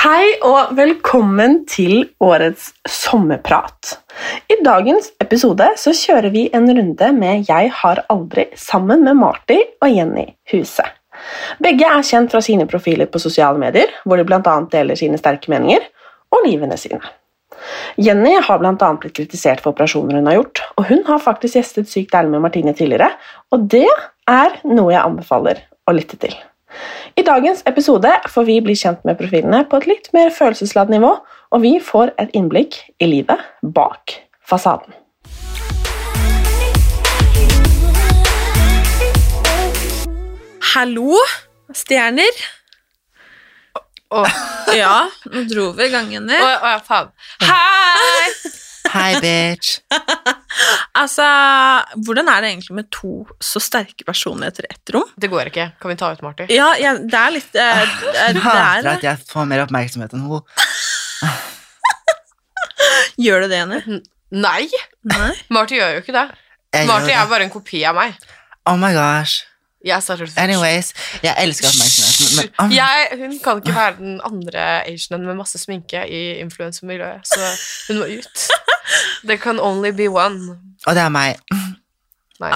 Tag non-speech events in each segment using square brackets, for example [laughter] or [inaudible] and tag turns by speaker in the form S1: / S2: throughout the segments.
S1: Hei og velkommen til årets sommerprat. I dagens episode så kjører vi en runde med Jeg har aldri sammen med Marty og Jenny Huse. Begge er kjent fra sine profiler på sosiale medier, hvor de bl.a. deler sine sterke meninger og livene sine. Jenny har bl.a. blitt kritisert for operasjoner hun har gjort, og hun har faktisk gjestet Sykt ærlig med Martine tidligere, og det er noe jeg anbefaler å lytte til. I dagens episode får vi bli kjent med profilene på et litt mer følelsesladd nivå, og vi får et innblikk i livet bak fasaden.
S2: Hallo, stjerner. [laughs] ja, nå dro vi gangen ned. faen. Hei!
S3: Hei, bitch.
S2: Altså, hvordan er det egentlig med to så sterke personligheter i ett rom?
S4: Det går ikke. Kan vi ta ut Marty?
S2: Ja, jeg, det er litt eh, det er-
S3: Hun hater at jeg får mer oppmerksomhet enn hun.
S2: Gjør det det, Jenny?
S4: Nei!
S2: Nei?
S4: Marty gjør jo ikke det.
S3: Jeg gjør
S4: Marty
S3: det.
S4: er bare en kopi av meg.
S3: Oh my gosh.
S4: Jeg starter
S3: Anyways, jeg elsker oppmerksomheten, men oh,
S4: jeg, hun kan ikke være den andre Asianen med masse sminke i influensermiljøet, så hun må
S3: [laughs]
S4: ut. Det kan only be one.
S3: og det er meg.
S4: Nei.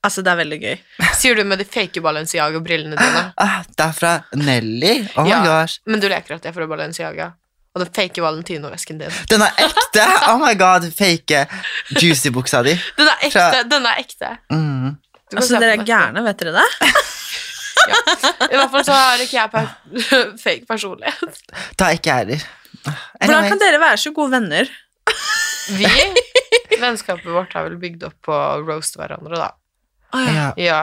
S2: Altså, det er veldig gøy.
S4: Sier du med de fake Balenciaga-brillene dine?
S3: Ah, det er fra Nelly. Oh my
S4: Ja.
S3: gosh.
S4: Men du leker at jeg er fra Balenciaga. Og den fake Valentino-vesken din. [laughs]
S3: Den er ekte! Oh my god, fake juicy-buksa di.
S4: Den er ekte!
S3: Fra-
S4: Den er ekte.
S3: Mm.
S4: Du kan se
S2: Altså,
S4: på
S2: dere er
S4: nettet.
S2: gærne, vet dere det?
S4: I hvert fall så har ikke jeg per [laughs] fake personlighet.
S3: Da er ikke jeg heller.
S2: Hvordan kan
S3: Anyway,
S2: dere være så gode venner?
S4: Vi, [laughs] vennskapet vårt er vel bygd opp på å roaste hverandre, da.
S3: ja,
S4: Ja.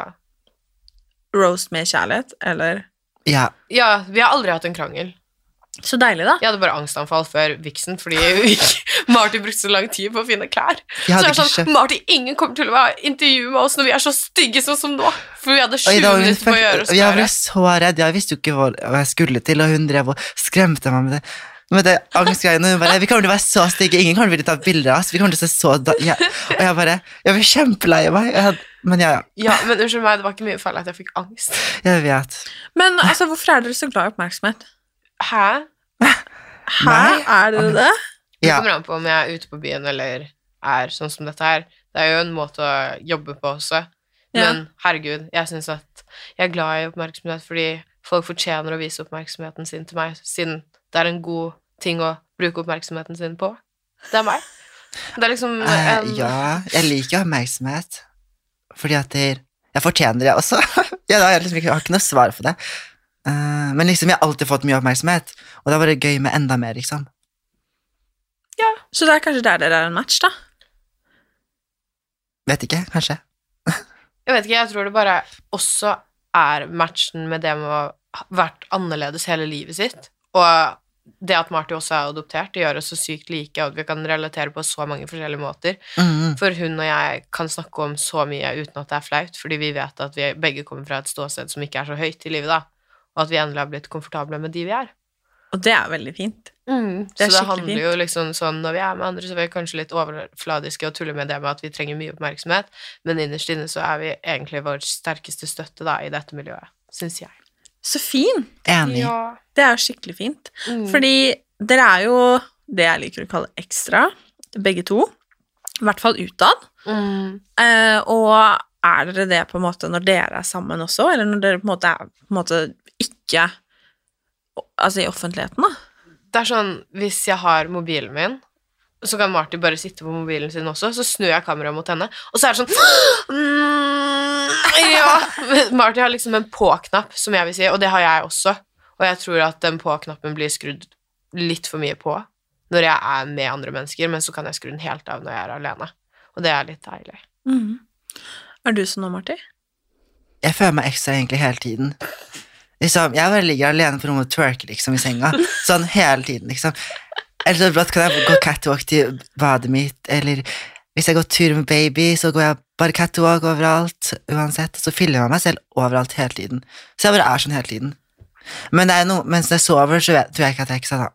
S2: Roast med kjærlighet, eller
S3: ja.
S4: ja, vi har aldri hatt en krangel.
S2: Så deilig, da.
S4: Jeg hadde bare angstanfall før viksen, fordi vi ikke- Marty brukte så lang tid på å finne klær.
S3: Jeg
S4: Så
S3: hadde
S4: jeg
S3: ikke
S4: er
S3: skjønt
S4: sånn, Marty, ingen kommer til å være- intervjue med oss når vi er så stygge sånn som nå. For vi hadde sju
S3: Oi, da var hun
S4: minutter på å
S3: fuck-
S4: gjøre oss
S3: Jeg ble
S4: klare.
S3: så redd, jeg visste jo ikke hva hva jeg skulle til, og hun drev og skremte meg med det. Med det angstgreiene, hun bare, Vi kommer til å være så stygge, ingen kommer til å ta bilder av oss. Vi kommer til å se så da ja. Og jeg bare Jeg ble kjempelei meg. Jeg hadde, men ja, ja.
S4: Ja, men unnskyld meg, det var ikke mye feil at jeg fikk angst.
S3: Jeg vet.
S2: Men altså, hvorfor er dere så glad i oppmerksomhet?
S4: [laughs] Hæ?
S2: Hæ? Er dere det?
S4: Det
S3: Ja.
S4: kommer an på om jeg er ute på byen eller er sånn som dette her. Det er jo en måte å jobbe på også. Men herregud, jeg syns at jeg er glad i oppmerksomhet fordi folk fortjener å vise oppmerksomheten sin til meg, siden det er en god ting å bruke oppmerksomheten sin på. Det er meg. Det er liksom
S3: Eh,
S4: en
S3: ja, jeg liker oppmerksomhet. Fordi at det- jeg fortjener det også. [laughs] ja, da, har jeg, liksom, ikke- jeg har ikke noe svar for det. Eh, men liksom, jeg har alltid fått mye oppmerksomhet, og da var det gøy med enda mer, liksom.
S2: Så det er kanskje der dere er en match, da?
S3: Vet ikke, kanskje.
S4: Jeg vet ikke, jeg tror det bare også er matchen med det med å ha vært annerledes hele livet sitt, og det at Marty også er adoptert, det gjør oss så sykt like, og at vi kan relatere på så mange forskjellige måter.
S3: Mm.
S4: For hun og jeg kan snakke om så mye uten at det er flaut, fordi vi vet at vi begge kommer fra et ståsted som ikke er så høyt i livet, da, og at vi endelig har blitt komfortable med de vi er. Mm.
S2: Og det er veldig fint.
S4: så
S2: er
S4: det
S2: skikkelig
S4: handler
S2: fint.
S4: jo liksom sånn når vi er med andre, så er vi kanskje litt overfladiske og tuller med det med at vi trenger mye oppmerksomhet, men innerst inne så er vi egentlig vår sterkeste støtte da i dette miljøet, syns jeg.
S2: Så fin!
S3: Enig.
S2: Det er jo skikkelig fint.
S4: Mm.
S2: Fordi dere er jo det jeg liker å kalle ekstra, begge to. I hvert fall utad.
S4: Mm.
S2: Eh, og er dere det på en måte når dere er sammen også, eller når dere på en måte er på en måte ikke Altså i offentligheten, da?
S4: Det er sånn, hvis jeg har mobilen min, så kan Marty bare sitte på mobilen sin også, så snur jeg kameraet mot henne, og så er det sånn [gasps] mm, Ja! [laughs] Men Marty har liksom en på-knapp, som jeg vil si, og det har jeg også. Og jeg tror at den på-knappen blir skrudd litt for mye på når jeg er med andre mennesker, men så kan jeg skru den helt av når jeg er alene. Og det er litt deilig.
S2: Mm. Er du sånn nå, Marti?
S3: Jeg føler meg ekstra egentlig hele tiden. Liksom, jeg bare ligger alene på rommet og twerker liksom, i senga. Sånn hele tiden, liksom. Eller så brått kan jeg gå catwalk til badet mitt, eller hvis jeg går tur med baby, så går jeg bare catwalk overalt, uansett. Så filmer jeg meg selv overalt hele tiden. Så jeg bare er sånn hele tiden. Men det er noe, mens jeg sover, så vet, tror jeg ikke at jeg ikke sa da.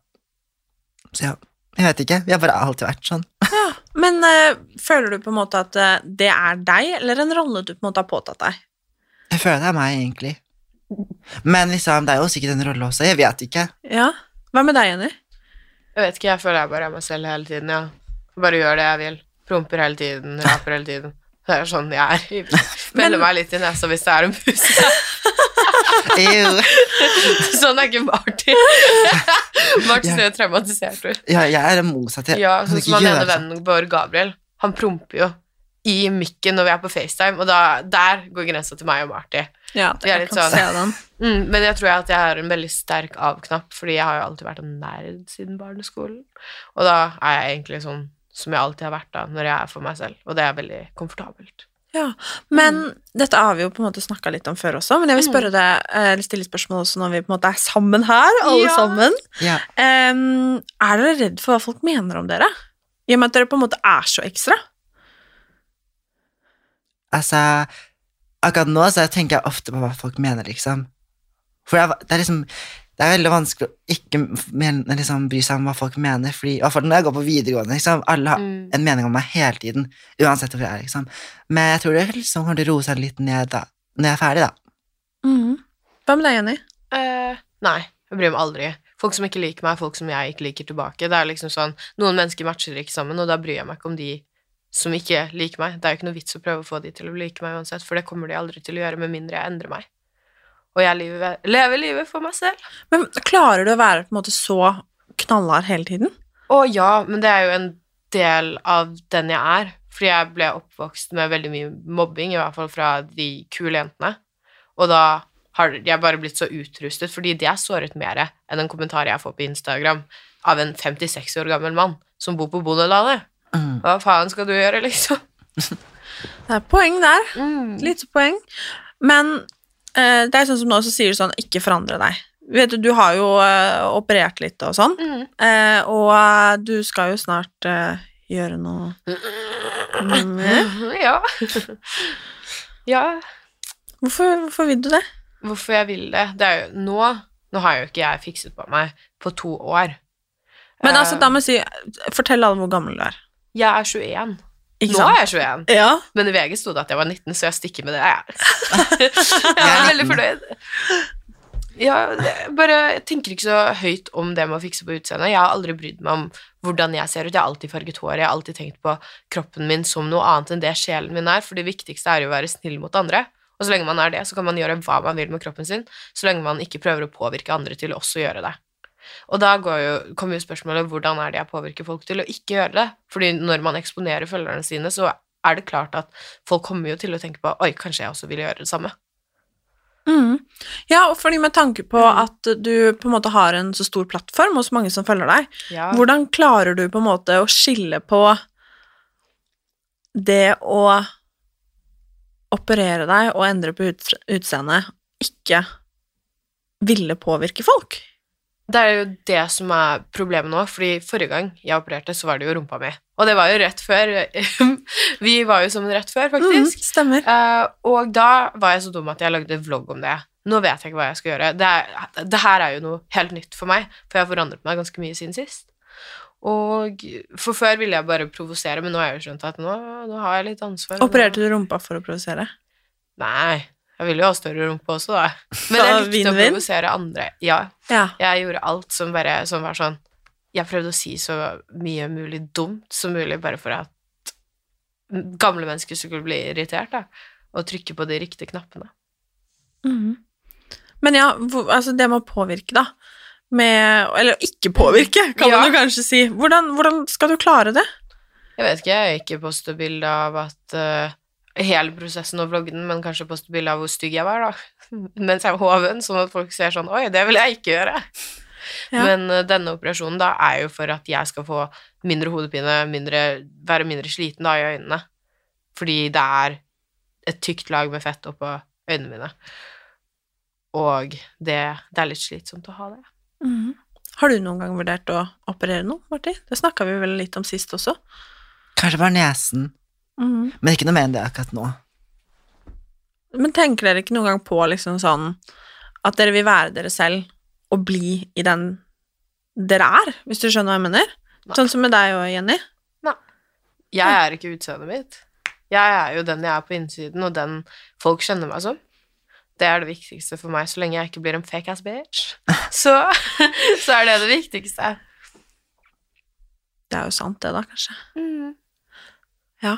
S3: Så ja, jeg vet ikke. Jeg har bare alltid vært sånn.
S2: Men eh, føler du på en måte at eh, det er deg, eller en rolle du på en måte har påtatt deg?
S3: Jeg føler det er meg, egentlig. Men liksom, det er jo sikkert en rolle også. Jeg vet ikke.
S2: Ja. Hva med deg, Jenny?
S4: Jeg vet ikke, jeg føler jeg bare er meg selv hele tiden, ja. Bare gjør det jeg vil. Promper hele tiden, raper hele tiden. Det er sånn jeg
S3: [laughs]
S4: er. Meller meg litt i nesa hvis det er en pus.
S3: Ew.
S4: [laughs] Sånn er ikke
S2: [laughs]
S4: Marty. Marty ser jo traumatisert ut.
S3: Ja, jeg er det motsatte.
S4: Ja,
S3: Jeg kan
S4: sånn
S3: ikke
S4: som han
S3: gjøre
S4: ene
S3: sånn.
S4: vennen vår, Gabriel, han promper jo i mikken når vi er på FaceTime, og da, der går grensa til meg og Marty.
S2: Ja,
S4: Vi er
S2: jeg
S4: litt
S2: kan
S4: sånn.
S2: se den.
S4: Mm, men jeg tror jeg at jeg har en veldig sterk av-knapp, fordi jeg har jo alltid vært en nerd siden barneskolen. Og da er jeg egentlig sånn som jeg alltid har vært da, når jeg er for meg selv, og det er veldig komfortabelt. Mm.
S2: Ja, men dette har vi jo på en måte snakka litt om før også, men jeg vil spørre deg, eh, eller stille spørsmål også når vi på en måte er sammen her, alle
S4: Ja.
S2: sammen.
S3: Ja.
S2: Em, er dere redd for hva folk mener om dere? I og med at dere på en måte er så ekstra.
S3: Altså, akkurat nå så tenker jeg ofte på hva folk mener, liksom. For det er, det er liksom Det er veldig vanskelig å ikke men- liksom, bry seg om hva folk mener, fordi i hvert fall når jeg går på videregående, liksom, alle har
S4: Mm.
S3: en mening om meg hele tiden, uansett hvor jeg er, liksom. Men jeg tror det liksom kommer til å roe seg litt ned da, når jeg
S4: [laughs]
S3: er ferdig, da.
S2: Hva med deg, Jenny?
S4: Eh, nei, jeg bryr meg aldri. Folk som ikke liker meg, folk som jeg ikke liker tilbake. Det er liksom sånn, Noen mennesker matcher ikke sammen, og da bryr jeg meg ikke om de som ikke liker meg. Det er jo ikke noe vits å prøve å få de til å like meg uansett, for det kommer de aldri til å gjøre med mindre jeg endrer meg. Og jeg lever, lever livet for meg selv.
S2: Men klarer du å være på en måte så knallhard hele tiden?
S4: Å ja, men det er jo en del av den jeg er. Fordi jeg ble oppvokst med veldig mye mobbing, i hvert fall fra de kule jentene. Og da har jeg bare blitt så utrustet, fordi det er såret mer enn en kommentar jeg får på Instagram av en 56 år gammel mann som bor på bondelandet.
S3: Mm.
S4: Hva faen skal du gjøre, liksom?
S2: [laughs]
S4: Mm.
S2: Det er poeng der. Lite poeng. Men eh, det er sånn som nå, så sier du sånn ikke forandre deg. Vet du, du har jo eh, operert litt og sånn,
S4: Mm.
S2: eh, og eh, du skal jo snart eh, gjøre
S4: [laughs]
S2: noe Mm.
S4: Ja. [laughs] ja.
S2: Hvorfor, hvorfor vil du det?
S4: hvorfor jeg vil det Det er jo nå Nå har jo ikke jeg fikset på meg på to år.
S2: Men
S4: Eh,
S2: altså, da må jeg si Fortell alle hvor gammel du er.
S4: Jeg er 21.
S2: Ikke
S4: Nå
S2: sant?
S4: er jeg 21.
S2: Ja.
S4: Men i VG sto det at jeg var 19, så jeg stikker med det. Jeg, jeg er veldig fornøyd. Ja, det- bare, jeg tenker ikke så høyt om det med å fikse på utseendet. Jeg har aldri brydd meg om hvordan jeg ser ut. Jeg har alltid farget hår. Jeg har alltid tenkt på kroppen min som noe annet enn det sjelen min er, for det viktigste er jo å være snill mot andre. Og så lenge man er det, så kan man gjøre hva man vil med kroppen sin, så lenge man ikke prøver å påvirke andre til også å gjøre det. Og da går jo, kommer jo spørsmålet hvordan er det jeg påvirker folk til å ikke gjøre det? Fordi når man eksponerer følgerne sine, så er det klart at folk kommer jo til å tenke på oi, kanskje jeg også vil gjøre det samme.
S2: Mm. ja, og fordi med tanke på at du på en måte har en så stor plattform hos mange som følger deg,
S4: Hvor-
S2: Hvordan klarer du på en måte å skille på det å operere deg og endre på ut- utseendet, ikke ville påvirke folk?
S4: Det er jo det som er problemet nå, fordi forrige gang jeg opererte, så var det jo rumpa mi. Og det var jo rett før. [laughs] Vi var jo sammen rett før,
S2: Mm,
S4: faktisk.
S2: stemmer.
S4: Eh, og da var jeg så dum at jeg lagde vlogg om det. Nå vet jeg ikke hva jeg skal gjøre. Det, er, det her er jo noe helt nytt for meg, for jeg har forandret meg ganske mye siden sist. Og For før ville jeg bare provosere, men nå har jeg jo skjønt at nå, nå har jeg litt ansvar. og nå-
S2: Opererte du rumpa for å provosere?
S4: Nei. Jeg ville jo ha større rumpe også, da. Men
S2: Så [laughs]
S4: jeg likte å
S2: vinn-vinn?
S4: provosere andre. Ja.
S2: Ja.
S4: Jeg gjorde alt som bare som var sånn Jeg prøvde å si så mye mulig dumt som mulig, bare for at gamle mennesker skulle bli irritert, da. Og trykke på de riktige knappene.
S2: Mhm. Men ja, hvor, altså det med å påvirke, da. Med, eller ikke påvirke, kan
S4: Ja.
S2: man jo kanskje si. Hvordan, hvordan skal du klare det?
S4: Jeg vet ikke, jeg ikke poste bilde av at eh, hele prosessen og vloggen, men kanskje poste bilde av hvor stygg jeg var, da. [laughs] Mens jeg var hoven, sånn at folk ser sånn Oi, det vil jeg ikke gjøre.
S2: Ja.
S4: Men eh, denne operasjonen da er jo for at jeg skal få mindre hodepine, mindre, være mindre sliten da i øynene. Fordi det er et tykt lag med fett oppå øynene mine. Og det, det er litt slitsomt å ha det.
S2: Mhm. Har du noen gang vurdert å operere noe, Marti? Det snakka vi vel litt om sist også.
S3: Kanskje bare nesen.
S2: Mhm.
S3: Men ikke noe mer enn det akkurat nå.
S2: Men tenker dere ikke noen gang på liksom sånn at dere vil være dere selv og bli i den dere er, hvis du skjønner hva jeg mener?
S4: Nei.
S2: Sånn som med deg og Jenny.
S4: Jeg er ikke utseendet mitt. Jeg er jo den jeg er på innsiden, og den folk kjenner meg som. Det er det viktigste for meg, så lenge jeg ikke blir en fake ass
S2: [laughs]
S4: bitch. Så, så er det det viktigste.
S2: Det er jo sant, det, da, kanskje.
S4: Mm.
S2: Ja.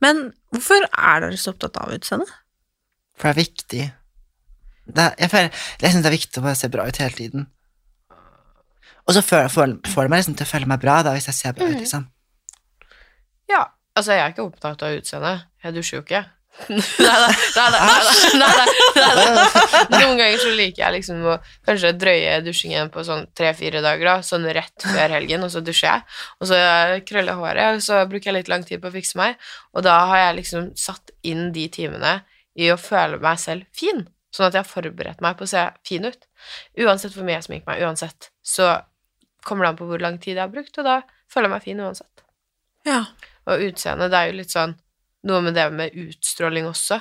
S2: Men hvorfor er dere så opptatt av utseendet?
S3: For det er viktig. Det er, jeg føler, jeg syns det er viktig å bare se bra ut hele tiden. Og så føler, får, får det meg liksom til å føle meg bra da, hvis jeg ser bra ut, liksom.
S4: Mhm. Ja, altså jeg er ikke opptatt av utseendet. Jeg dusjer jo ikke. [laughs] Neida, neida, neida, neida, neida. Noen ganger så liker jeg liksom å kanskje drøye dusjingen på sånn tre-fire dager, da, sånn rett før helgen, og så dusjer jeg. Og så krøller jeg håret, og så bruker jeg litt lang tid på å fikse meg. Og da har jeg liksom satt inn de timene i å føle meg selv fin, sånn at jeg har forberedt meg på å se fin ut. Uansett hvor mye jeg sminker meg, uansett, så kommer det an på hvor lang tid jeg har brukt, og da føler jeg meg fin uansett.
S2: Ja.
S4: Og utseende, det er jo litt sånn Noe med det med utstråling også.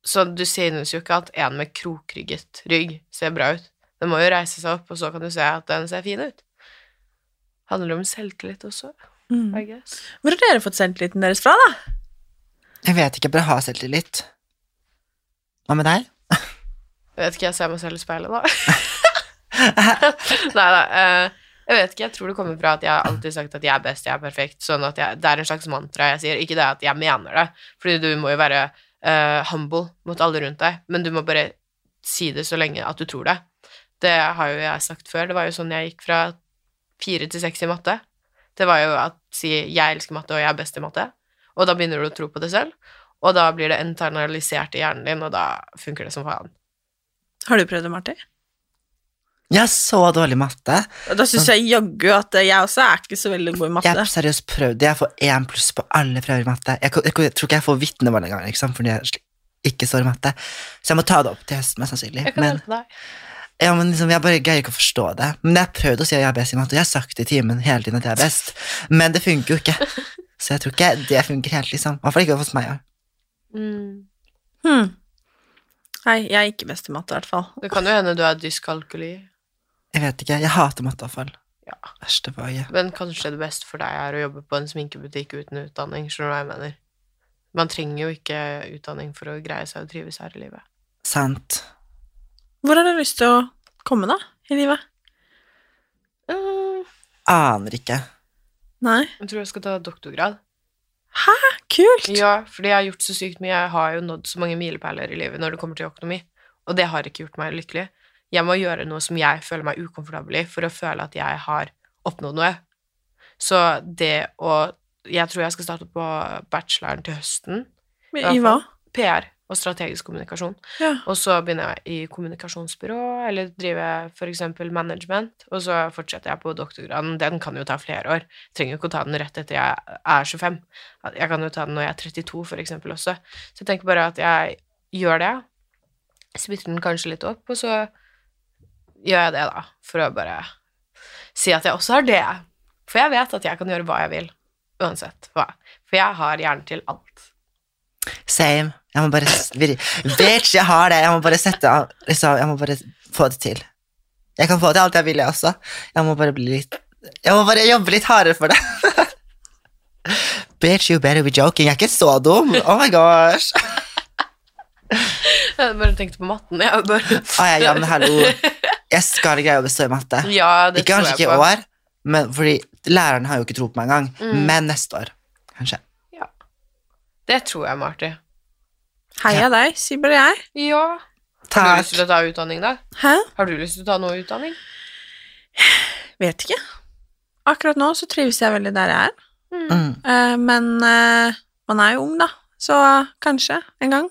S4: Så du synes jo ikke at en med krokrygget rygg ser bra ut. Den må jo reise seg opp, og så kan du se at den ser fin ut. Handler om selvtillit også,
S2: Mm.
S4: I guess.
S2: Hvor har dere fått selvtilliten deres fra, da?
S3: Jeg vet ikke, jeg bør ha selvtillit. Hva med deg?
S4: Jeg vet ikke, jeg ser meg selv i speilet, da. Nei da. Jeg vet ikke, jeg tror det kommer fra at jeg har alltid sagt at jeg er best, jeg er perfekt. Sånn at jeg, Det er en slags mantra jeg sier. Ikke det at jeg mener det, fordi du må jo være eh, humble mot alle rundt deg, men du må bare si det så lenge at du tror det. Det har jo jeg sagt før. Det var jo sånn jeg gikk fra fire til seks i matte. Det var jo at si 'jeg elsker matte, og jeg er best i matte', og da begynner du å tro på det selv. Og da blir det internalisert i hjernen din, og da funker det som faen.
S2: Har du prøvd det, Marti?
S3: Jeg har så dårlig matte.
S2: Da syns jeg jaggu at eh, jeg også er ikke så veldig god i
S3: Jeg
S2: matte.
S3: har seriøst prøvd det. Jeg får én pluss på alle prøver i matte. Jeg, ko- jeg, ko- jeg tror ikke jeg får vitnemål engang, liksom, fordi jeg sli- ikke står i matte. Så jeg må ta det opp til høsten, mest sannsynlig.
S4: Jeg kan
S3: Men,
S4: hjelpe deg.
S3: ja, men liksom, jeg bare greier ikke å forstå det. Men jeg har prøvd å si at jeg er best i matte, og jeg har sagt det i timen hele tiden at jeg er best, men det funker jo [laughs] ikke. Så jeg tror ikke det funker helt, liksom. I hvert fall ikke hos meg. ja.
S2: Hmm. Nei, jeg er ikke best i matte, i hvert fall.
S4: Det kan jo hende du er dyskalkuli,
S3: Jeg vet ikke. Jeg hater matte, iallfall.
S4: Ja.
S3: Verste faget.
S4: men kanskje det beste for deg er å jobbe på en sminkebutikk uten utdanning, skjønner du hva jeg mener? Man trenger jo ikke utdanning for å greie seg og trives her i livet.
S3: Sant.
S2: Hvor har dere lyst til å komme, da? I livet?
S3: Aner ikke.
S2: Nei.
S4: Jeg tror jeg skal ta doktorgrad.
S2: Kult!
S4: Ja, fordi jeg har gjort så sykt mye. Jeg har jo nådd så mange milepæler i livet når det kommer til økonomi, og det har ikke gjort meg lykkelig. Jeg må gjøre noe som jeg føler meg ukomfortabel i, for å føle at jeg har oppnådd noe. Så det å Eh, Jeg tror jeg skal starte på bacheloren til høsten.
S2: Men I hva?
S4: PR og strategisk kommunikasjon.
S2: Ja.
S4: Og så begynner jeg i kommunikasjonsbyrå, eller driver f.eks. management, og så fortsetter jeg på doktorgraden. Den kan jo ta flere år. Jeg trenger jo ikke å ta den rett etter jeg er 25. At Jeg kan jo ta den når jeg er 32, f.eks. også. Så jeg tenker bare at jeg gjør det. Splitter den kanskje litt opp, og så gjør jeg det, da. For å bare si at jeg også har det. For jeg vet at jeg kan gjøre hva jeg vil. Uansett hva. For jeg har hjernen til alt.
S3: Same. Jeg må bare s- vir- Bitch, jeg har det. Jeg må bare sette av liksom, Jeg må bare få det til. Jeg kan få til alt jeg vil, jeg også. Jeg må bare bli litt Jeg må bare jobbe litt hardere for det. [laughs] Bitch, you better be joking. Jeg er ikke så dum. Oh my gosh.
S4: Jeg bare tenkte på matten. Jeg bare...
S3: Ah, ja, ja, men hallo. Jeg skal greie å bestå i matte.
S4: Ja, det
S3: Ikke
S4: tror jeg
S3: kanskje ikke i
S4: på. Mm.
S3: år, men fordi læreren har jo ikke tro på meg engang. Men neste år, kanskje. Det tror jeg, Marty.
S4: Heia deg, sier bare jeg.
S3: Ja. Har du
S5: Takk.
S3: lyst til å ta utdanning, da?
S4: Hæ?
S3: Har du lyst til å ta noe utdanning?
S4: Vet ikke. Akkurat nå så trives jeg veldig der jeg er.
S5: Mm.
S4: Eh, men eh, man er jo ung, da. Så kanskje en gang.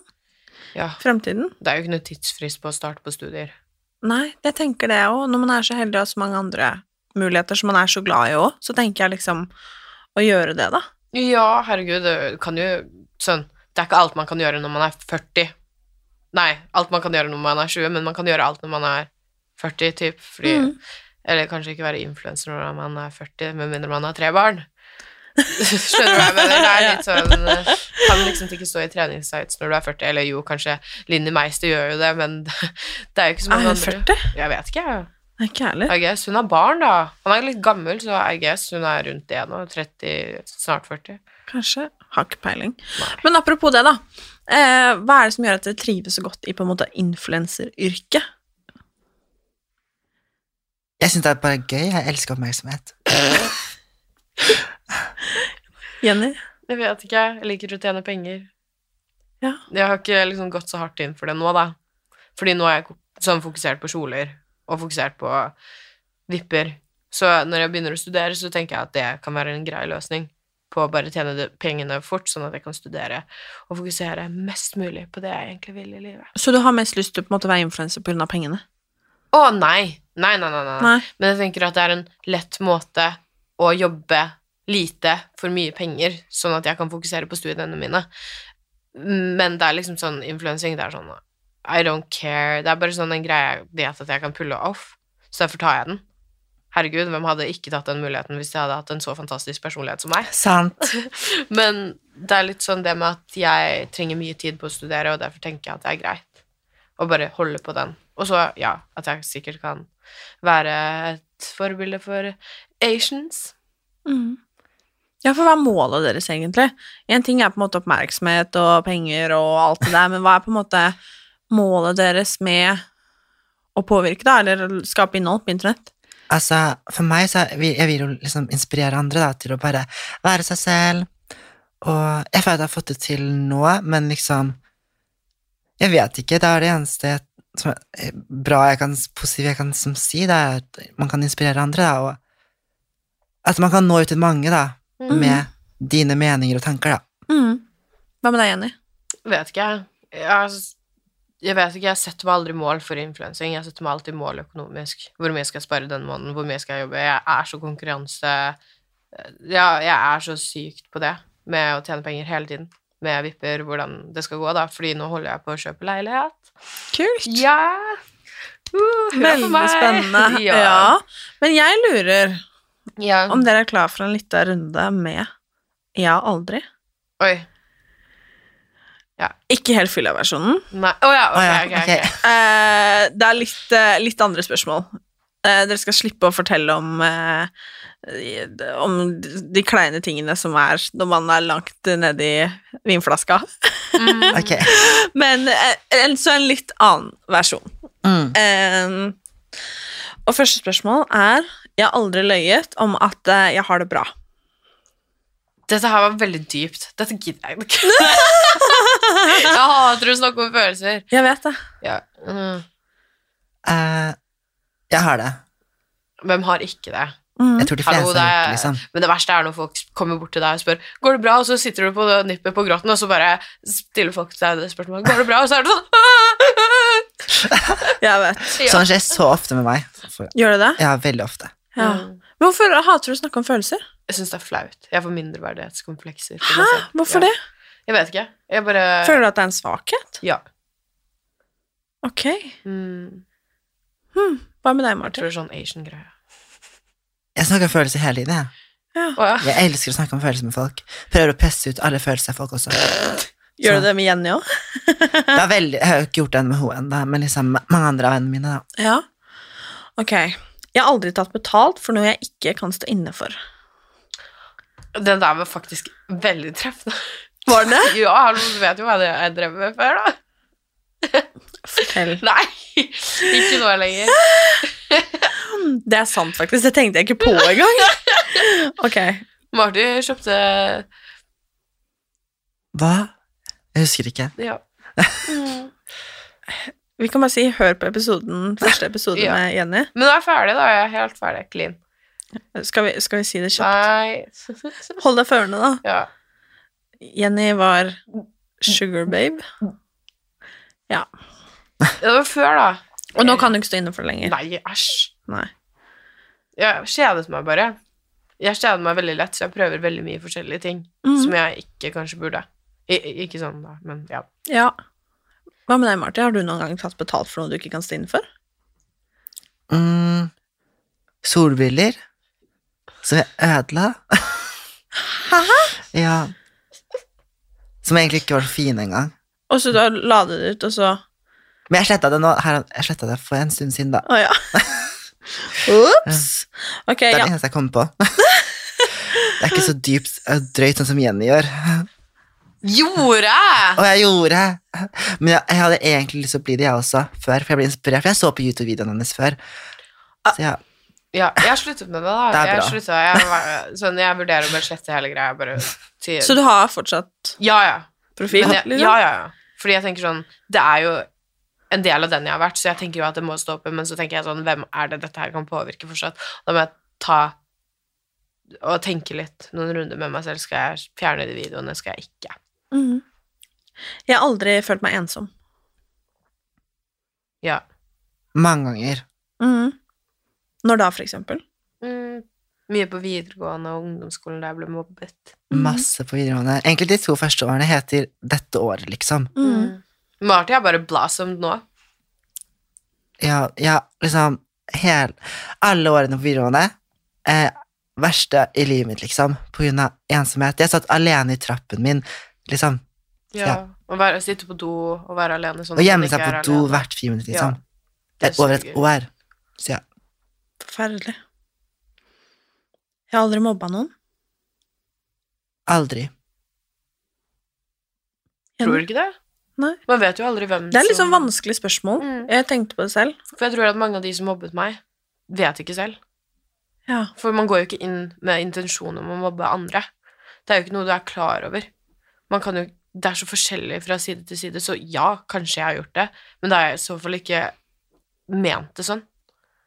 S3: Ja.
S4: Fremtiden.
S3: Det er jo ikke noe tidsfrist på å starte på studier.
S4: Nei, jeg tenker det òg. Når man er så heldig og har så mange andre muligheter som man er så glad i òg, så tenker jeg liksom å gjøre det, da.
S3: Ja, herregud, det kan jo sånn Det er ikke alt man kan gjøre når man er 40. Nei, alt man kan gjøre når man er 20, men man kan gjøre alt når man er 40, typ. Fordi
S4: Mm.
S3: Eller kanskje ikke være influenser når man er 40, med mindre man har tre barn. Skjønner du hva jeg mener? Det er litt sånn eh, Kan liksom ikke stå i treningstights når du er 40. Eller jo, kanskje Linni Meister gjør jo det, men [laughs] det er jo ikke så
S4: Er
S3: mange
S4: hun
S3: andre.
S4: 40?
S3: Jeg vet ikke, jeg.
S4: Det er ikke ærlig.
S3: I guess. Hun har barn, da. Han er litt gammel, så I guess hun er rundt det nå. 30, snart 40.
S4: Kanskje. Har ikke peiling. Men apropos det, da. Eh, hva er det som gjør at dere trives så godt i på en måte influenseryrket?
S5: Jeg syns det er bare gøy. Jeg elsker oppmerksomhet.
S4: [laughs] Jenny?
S3: Jeg vet ikke. Jeg liker å tjene penger.
S4: Ja.
S3: Jeg har ikke liksom gått så hardt inn for det nå, da. Fordi nå er jeg ko- sånn fokusert på kjoler, og fokusert på vipper. Så når jeg begynner å studere, så tenker jeg at det kan være en grei løsning på å bare tjene de pengene fort, sånn at jeg kan studere og fokusere mest mulig på det jeg egentlig vil i livet.
S4: Så du har mest lyst til å på en måte være influenser pga. pengene?
S3: Å, nei! Nei, nei, nei, nei.
S4: Nei.
S3: Men jeg tenker at det er en lett måte å jobbe lite for mye penger, sånn at jeg kan fokusere på studiene mine. Men det er liksom sånn influensing, det er sånn I don't care. Det er bare sånn en greie jeg vet at jeg kan pulle off, så derfor tar jeg den. Herregud, hvem hadde ikke tatt den muligheten hvis de hadde hatt en så fantastisk personlighet som meg?
S5: Sant.
S3: [laughs] Men det er litt sånn det med at jeg trenger mye tid på å studere, og derfor tenker jeg at det er greit å bare holde på den. Og så, ja, at jeg sikkert kan være et forbilde for Asians.
S4: Mm. Ja, for hva er målet deres egentlig? En ting er på en måte oppmerksomhet og penger og alt det der, men hva er på en måte målet deres med å påvirke, da, eller skape innhold på internett?
S5: Altså, for meg så er, vi- Jeg vil jo liksom inspirere andre da, til å bare være seg selv. Og jeg føler at jeg har fått det til nå, men liksom Jeg vet ikke. Det er det eneste som er eh, bra jeg kan, positivt jeg kan som si, det er at man kan inspirere andre, da, og at man kan nå ut til mange, da,
S3: Mm.
S5: med dine meninger og tanker, da.
S4: Mm. Hva med deg, Jenny?
S3: Vet ikke, jeg. jeg. Jeg vet ikke, jeg setter meg aldri mål for influensing. Jeg setter meg alltid mål økonomisk. Hvor mye skal jeg spare denne måneden? Hvor mye skal jeg jobbe? Jeg er så konkurranse... eh, Ja, jeg er så sykt på det med å tjene penger hele tiden. Med vipper, hvordan det skal gå, da. Fordi nå holder jeg på å kjøpe leilighet.
S4: Kult!
S3: Ja! Uh, hurra for
S4: Veldig
S3: meg.
S4: spennende. Ja.
S3: [laughs] Ja.
S4: Men jeg lurer
S3: Ja.
S4: om dere er klar for en liten runde med Ja, aldri.
S3: Oi.
S4: Ikke helt fylla-versjonen.
S3: Nei. Å ja, ok,
S5: Å Ah, ja,
S3: ok, ok.
S5: ok.
S4: Eh, det er litt, eh, litt andre spørsmål. Eh, dere skal slippe å fortelle om, eh, om de kleine tingene som er når man er langt nedi vinflaska.
S5: Ok.
S4: Men eh, en, så en litt annen versjon.
S5: Mm.
S4: Eh, og første spørsmål er Jeg har aldri løyet om at eh, jeg har det bra.
S3: Dette her var veldig dypt. Dette gidder jeg ikke.
S5: [laughs]
S3: jeg hater å snakke om følelser.
S4: Jeg vet det.
S3: Ja. Mm.
S5: Eh, jeg har det. Mm.
S3: Hvem har ikke det?
S5: Jeg tror de fleste
S3: Hallo, det
S5: har
S3: er,
S5: gjort det, liksom.
S3: Men det verste er når folk kommer bort til deg og spør Går det bra, og så sitter du på det nippet på gråten, og så bare stiller folk deg det spørsmålet Går det bra, og så er det sånn
S4: Jeg vet.
S3: Ja.
S5: Sånn skjer så ofte med meg. For-
S4: Gjør det det?
S5: Ja, veldig ofte.
S4: Ja. Men hvorfor hater du å snakke om følelser?
S3: Jeg syns det er flaut. Jeg får mindreverdighetskomplekser.
S4: Hæ?
S3: for meg selv.
S4: Hvorfor
S3: sånn. ja.
S4: det?
S3: Jeg vet ikke. Jeg bare
S4: Føler du at det er en svakhet?
S3: Ja.
S4: Ok. Hm.
S3: Mm.
S4: Hva med deg,
S3: Jeg
S4: Martin?
S3: tror det er sånn Asian-greie.
S5: Jeg snakker om følelser hele tiden. Jeg.
S3: Å ja.
S5: jeg elsker å snakke om følelser med folk. Prøver å pesse ut alle følelser av folk også.
S4: Gjør du det med Jenny òg?
S5: [laughs] Det er veldig, jeg har jo ikke gjort det med henne ennå, men liksom mange andre av vennene mine. da.
S4: Ja. Ok. Jeg har aldri tatt betalt for noe jeg ikke kan stå inne for.
S3: Den der var faktisk veldig treffende.
S4: [laughs] Var det?
S3: Ja, hallo, du vet jo hva det er jeg drev med før, da.
S4: [laughs] Fortell.
S3: Nei, ikke nå lenger.
S4: [laughs] Det er sant, faktisk. Det tenkte jeg ikke på engang. Ok.
S3: Marty kjøpte Hva? Jeg husker ikke.
S4: Ja.
S2: Vi kan bare si hør på episoden, første episode
S4: Ja.
S2: med Jenny.
S4: Men nå er jeg ferdig, da. Jeg er helt ferdig. Clean.
S2: Skal vi, skal vi si det kjapt?
S4: Nei
S2: Hold deg førende, da.
S4: Ja.
S2: Jenny var sugar babe.
S4: Det var før, da.
S2: Og nå kan du ikke stå inne for det lenger.
S4: Nei, æsj.
S2: Nei.
S4: Jeg kjedet meg bare. Jeg kjeder meg veldig lett, så jeg prøver veldig mye forskjellige ting
S2: Mhm.
S4: som jeg ikke kanskje burde. I, i- ikke sånn, da, men ja.
S2: Ja. Hva med deg, Marti? Har du noen gang tatt betalt for noe du ikke kan stå inne for?
S3: Mm, solbriller som jeg ødela.
S5: [laughs]
S3: ja. Som egentlig ikke var så fine engang.
S2: Og så da la du det ut, og så
S3: Men jeg sletta det nå her, Jeg slettet det for en stund siden, da.
S2: Å
S3: [laughs]
S2: ja. Ops. Ok,
S3: Det er
S2: ja.
S3: det eneste jeg kom på. [laughs] det er ikke så dypt eh, drøyt sånn som Jenny gjør.
S4: Gjorde jeg?!
S3: Og jeg gjorde det. Men jeg, jeg hadde egentlig lyst til å bli det, jeg også, før. For jeg ble inspirert. For jeg så på YouTube-videoene hennes før. Så ja,
S4: Ah. Ja, jeg har sluttet med det, da.
S3: Det er
S4: jeg,
S3: bra.
S4: slutta, jeg, var- sånn, jeg vurderer å bare slette hele greia. Bare til,
S2: Så du har fortsatt
S4: ja, ja.
S2: profil?
S4: Men jeg,
S2: liksom?
S4: ja, ja, ja. Fordi jeg tenker sånn Det er jo en del av den jeg har vært, så jeg tenker jo at det må stå oppe, men så tenker jeg sånn Hvem er det dette her kan påvirke fortsatt? Da må jeg ta og tenke litt noen runder med meg selv. Skal jeg fjerne de videoene? Skal jeg ikke?
S2: Mhm. Jeg har aldri følt meg ensom.
S4: Ja.
S3: mange ganger.
S2: Mhm. Når da, for eksempel?
S4: Mye på videregående og ungdomsskolen der jeg ble mobbet.
S3: Masse på videregående. Egentlig de to første årene heter 'dette året', liksom.
S2: Mhm.
S4: Mm. Marty er bare blossomed nå.
S3: Ja, ja liksom hel, Alle årene på videregående. Eh, verste i livet mitt, liksom. På grunn av ensomhet. Jeg satt alene i trappen min, liksom.
S4: Ja. Å være, sitte på do og være alene sånn
S3: Og
S4: at
S3: gjemme
S4: man
S3: seg
S4: ikke
S3: på
S4: er
S3: do
S4: alene.
S3: hvert friminutt,
S4: Ja,
S3: liksom.
S4: det
S3: Et- Over et
S4: suger.
S3: år. Så ja.
S2: Forferdelig. Jeg har aldri mobba noen.
S3: Aldri.
S4: Tror du ikke det?
S2: Nei.
S4: Man vet jo aldri hvem
S2: Det er litt sånn
S4: som-
S2: vanskelig spørsmål.
S4: Mm.
S2: Jeg tenkte på det selv.
S4: For jeg tror at mange av de som mobbet meg, vet ikke selv.
S2: Ja.
S4: For man går jo ikke inn med intensjon om å mobbe andre. Det er jo ikke noe du er klar over. Man kan jo, det er så forskjellig fra side til side, så ja, kanskje jeg har gjort det, men det er i så fall ikke ment det sånn.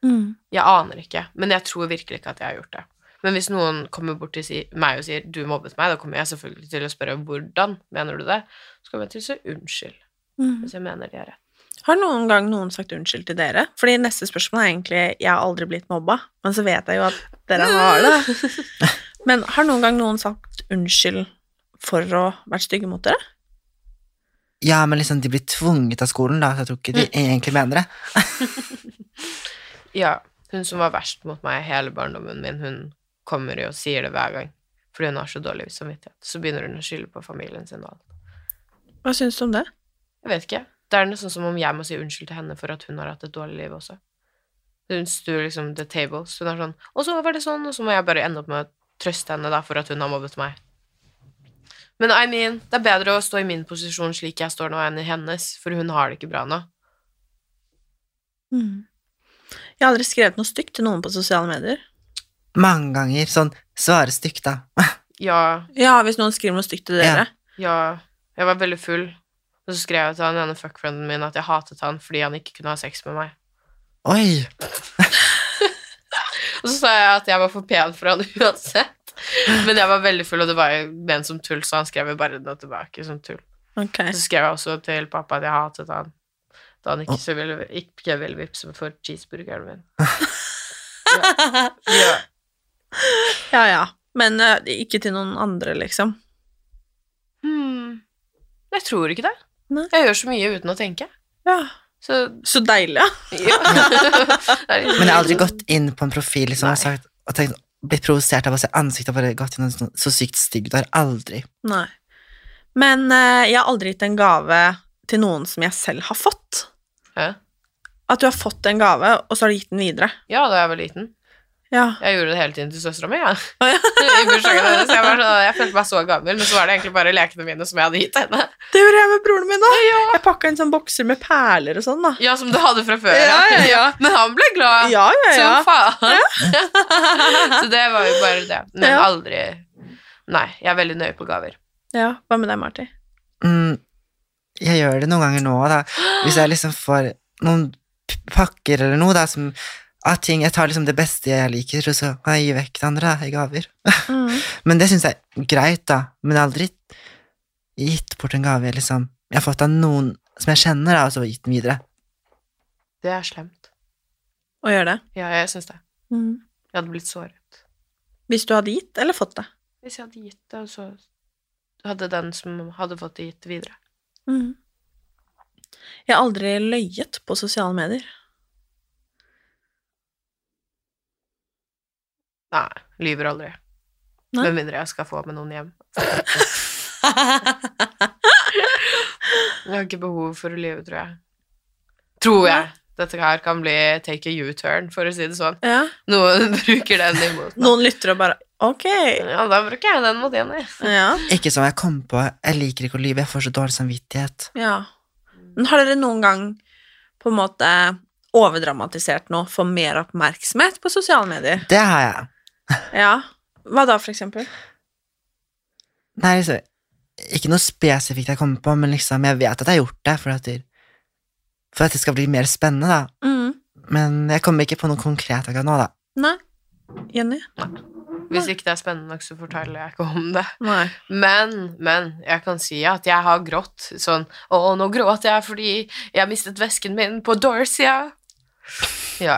S2: Mm.
S4: Jeg aner ikke, men jeg tror virkelig ikke at jeg har gjort det. Men hvis noen kommer bort til si, meg og sier 'du mobbet meg', da kommer jeg selvfølgelig til å spørre 'hvordan mener du det?' Så kommer jeg til å si 'unnskyld', hvis jeg mener det er rett.
S2: Mm. Har noen gang noen sagt unnskyld til dere? Fordi neste spørsmål er egentlig 'jeg har aldri blitt mobba', men så vet jeg jo at dere har det.
S4: [laughs]
S2: Men har noen gang noen sagt unnskyld for å vært stygge mot dere?
S3: Ja, men liksom, de blir tvunget av skolen, da, så jeg tror ikke de
S4: Mm.
S3: egentlig mener det.
S4: Ja, hun som var verst mot meg hele barndommen min, hun kommer jo og sier det hver gang. Fordi hun har så dårlig samvittighet. Så begynner hun å skylde på familien sin og alt.
S2: Hva syns du om det?
S4: Jeg vet ikke. Det er nesten som om jeg må si unnskyld til henne for at hun har hatt et dårlig liv også. Hun stuer liksom the tables. Hun er sånn Og så var det sånn, og så må jeg bare ende opp med å trøste henne da for at hun har mobbet meg. Men I mean, det er bedre å stå i min posisjon slik jeg står nå, enn i hennes, for hun har det ikke bra nå.
S2: Mm. Jeg har aldri skrevet noe stygt til noen på sosiale medier.
S3: Mange ganger. Sånn svare stygt, da.
S4: Ja,
S2: Ja, hvis noen skriver noe stygt til dere.
S4: Ja, jeg var veldig full. Og så skrev jeg til han ene fuckfrienden min at jeg hatet han fordi han ikke kunne ha sex med meg.
S3: Oi!
S4: [laughs] Og så sa jeg at jeg var for pen for han uansett. Men jeg var veldig full, og det var jo ment som tull, så han skrev jo bare noe tilbake som tull.
S2: Ok.
S4: Så skrev jeg også til pappa at jeg hatet han da han ikke, så ville, ikke ville vippse for cheeseburgeren min. Ja. Ja.
S2: Ja, ja. Men eh, ikke til noen andre, liksom.
S4: Hmm. Jeg tror ikke det.
S2: Nei.
S4: Jeg gjør så mye uten å tenke.
S2: Ja.
S4: Så
S2: Så deilig, ja.
S4: ja.
S3: Men jeg har aldri gått inn på en profil liksom, og, sagt, og tenkt, blitt provosert av å se ansiktet og bare gått inn og sånn, så sykt stygg. Det har jeg aldri.
S2: Nei. Men eh, jeg har aldri gitt en gave til noen som jeg selv har fått.
S4: Hæ?
S2: At du har fått en gave, og så har du gitt den videre.
S4: Ja, da jeg var liten.
S2: Ja.
S4: Jeg gjorde det hele tiden til søstera mi, jeg. [laughs] I bursdagen hennes. Jeg, var sånn, jeg følte meg så gammel, men så var det egentlig bare lekene mine som jeg hadde gitt henne.
S2: Det gjorde jeg med broren min òg. Jeg pakka inn sånne bokser med perler og sånn, da.
S4: Ja, som du hadde fra før.
S2: Ja, ja, ja.
S4: Men han ble glad.
S2: Ja, ja, ja.
S4: Som faen. [laughs] så det var jo bare det. Men
S2: Ja.
S4: aldri Nei, jeg er veldig nøye på gaver.
S2: Ja, Hva med deg, Marti?
S3: Mm, jeg gjør det noen ganger nå, da. Hvis jeg liksom får noen p- pakker eller noe, da, som av ting Jeg tar liksom det beste jeg liker, og så kan jeg gi vekk det andre da, i gaver. [laughs] Men det syns jeg er greit, da. Men jeg har aldri gitt bort en gave, liksom. Jeg har fått av noen som jeg kjenner, da, og så gitt den videre.
S4: Det er slemt.
S2: Å gjøre det?
S4: Ja, jeg syns det. Jeg hadde blitt såret.
S2: Hvis du hadde gitt eller fått det?
S4: Hvis jeg hadde gitt det, og så hadde den som hadde fått det, gitt det videre.
S2: Mm. Jeg har aldri løyet på sosiale medier.
S4: Nei, lyver aldri.
S2: Nei.
S4: Med mindre jeg skal få med noen
S2: [laughs]
S4: hjem. Jeg har ikke behov for å lyve, tror jeg. Tror jeg. Dette her kan bli take a U-turn, for å si det sånn.
S2: Ja.
S4: Noen bruker den imot meg.
S2: Noen lytter og bare Ok.
S4: Ja, da bruker jeg den mot Jenny.
S2: Ja.
S3: Ikke som jeg kom på. Jeg liker ikke å lyve. Jeg får så dårlig samvittighet.
S2: ja. Men har dere noen gang på en måte overdramatisert noe for mer oppmerksomhet på sosiale medier?
S3: Det har jeg.
S2: Ja. Hva da, for eksempel?
S3: Nei, liksom Ikke noe spesifikt jeg kommer på, men liksom, jeg vet at jeg har gjort det for at, det- for at det skal bli mer spennende, da.
S2: Mm.
S3: Men jeg kommer ikke på noe konkret akkurat nå, da.
S2: Nei. Jenny?
S4: Hvis ikke det er spennende nok, så forteller jeg ikke om det.
S2: Nei.
S4: Men, men, jeg kan si at jeg har grått sånn Å, nå gråter jeg fordi jeg mistet vesken min på Dorsia. Ja.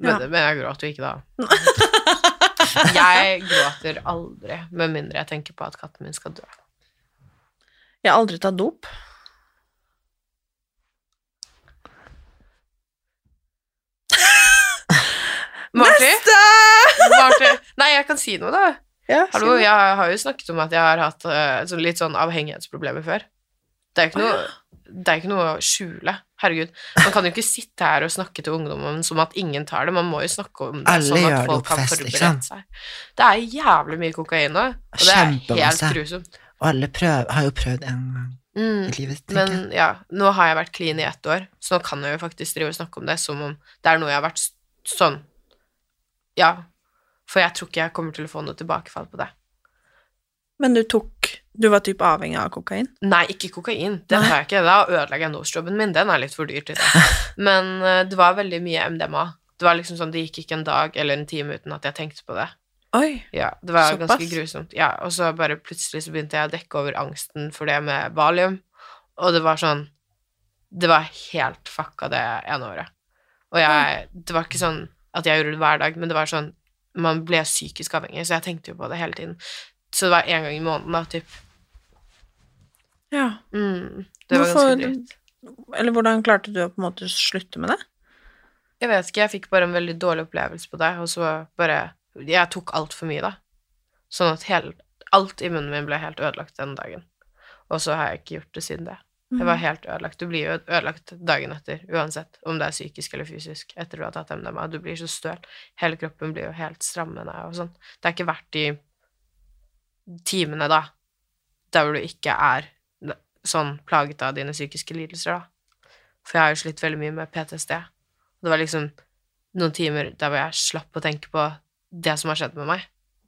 S4: Men,
S2: Ja.
S4: men jeg gråter jo ikke da. jeg gråter aldri, med mindre jeg tenker på at katten min skal dø.
S2: Jeg har aldri tatt dop.
S4: Marty?
S2: [laughs] Neste!
S4: Marty? Nei, jeg kan si noe, da.
S2: Ja,
S4: Hallo, jeg har jo snakket om at jeg har hatt eh, sånn litt sånn avhengighetsproblemer før. Det er jo ikke noe, det er ikke noe å skjule. Herregud. Man kan jo ikke sitte her og snakke til ungdommen som at ingen tar det. Man må jo snakke om det
S3: Alle
S4: sånn
S3: gjør
S4: at
S3: det
S4: folk
S3: på
S4: kan
S3: fest,
S4: forberede
S3: liksom.
S4: seg. Det er jævlig mye kokain nå, og det er helt
S3: Kjempemasse.
S4: grusomt.
S3: Og alle prøv, har jo prøvd en gang i
S4: Mm.
S3: livet, tenker jeg.
S4: Men ja, nå har jeg vært clean i ett år, så nå kan jeg jo faktisk drive og snakke om det som om det er noe jeg har vært s- sånn Ja. For jeg tror ikke jeg kommer til å få noe tilbakefall på det.
S2: Men du tok Du var typ avhengig av kokain?
S4: Nei, ikke kokain. Den tar jeg ikke. Da ødelegger jeg nostrobben min. Den er litt for dyr til det.
S2: [laughs]
S4: Men eh, det var veldig mye MDMA. Det var liksom sånn, det gikk ikke en dag eller en time uten at jeg tenkte på det.
S2: Oi.
S4: Ja, det var
S2: Såpass.
S4: ganske grusomt. Ja, og så bare plutselig så begynte jeg å dekke over angsten for det med valium. Og det var sånn Det var helt fucka det ene året. Og jeg Det var ikke sånn at jeg gjorde det hver dag, men det var sånn Man ble psykisk avhengig, så jeg tenkte jo på det hele tiden. Så det var én gang i måneden, da, typ.
S2: Ja.
S4: Mm, det var ganske
S2: Hvorfor-
S4: dritt.
S2: Eller hvordan klarte du å på en måte slutte med det?
S4: Jeg vet ikke, jeg fikk bare en veldig dårlig opplevelse på det, og så bare Jeg tok altfor mye, da. Sånn at hele, alt i munnen min ble helt ødelagt den dagen. Og så har jeg ikke gjort det siden det. Jeg
S2: Mhm.
S4: var helt ødelagt. Du blir jo ødelagt dagen etter, uansett om det er psykisk eller fysisk, etter du har tatt MDMA. Du blir så støl. Hele kroppen blir jo helt strammende og sånn. Det er ikke verdt de timene, da, der hvor du ikke er sånn plaget av dine psykiske lidelser, da. For jeg har jo slitt veldig mye med PTSD. Det var liksom noen timer der hvor jeg slapp å tenke på det som har skjedd med meg.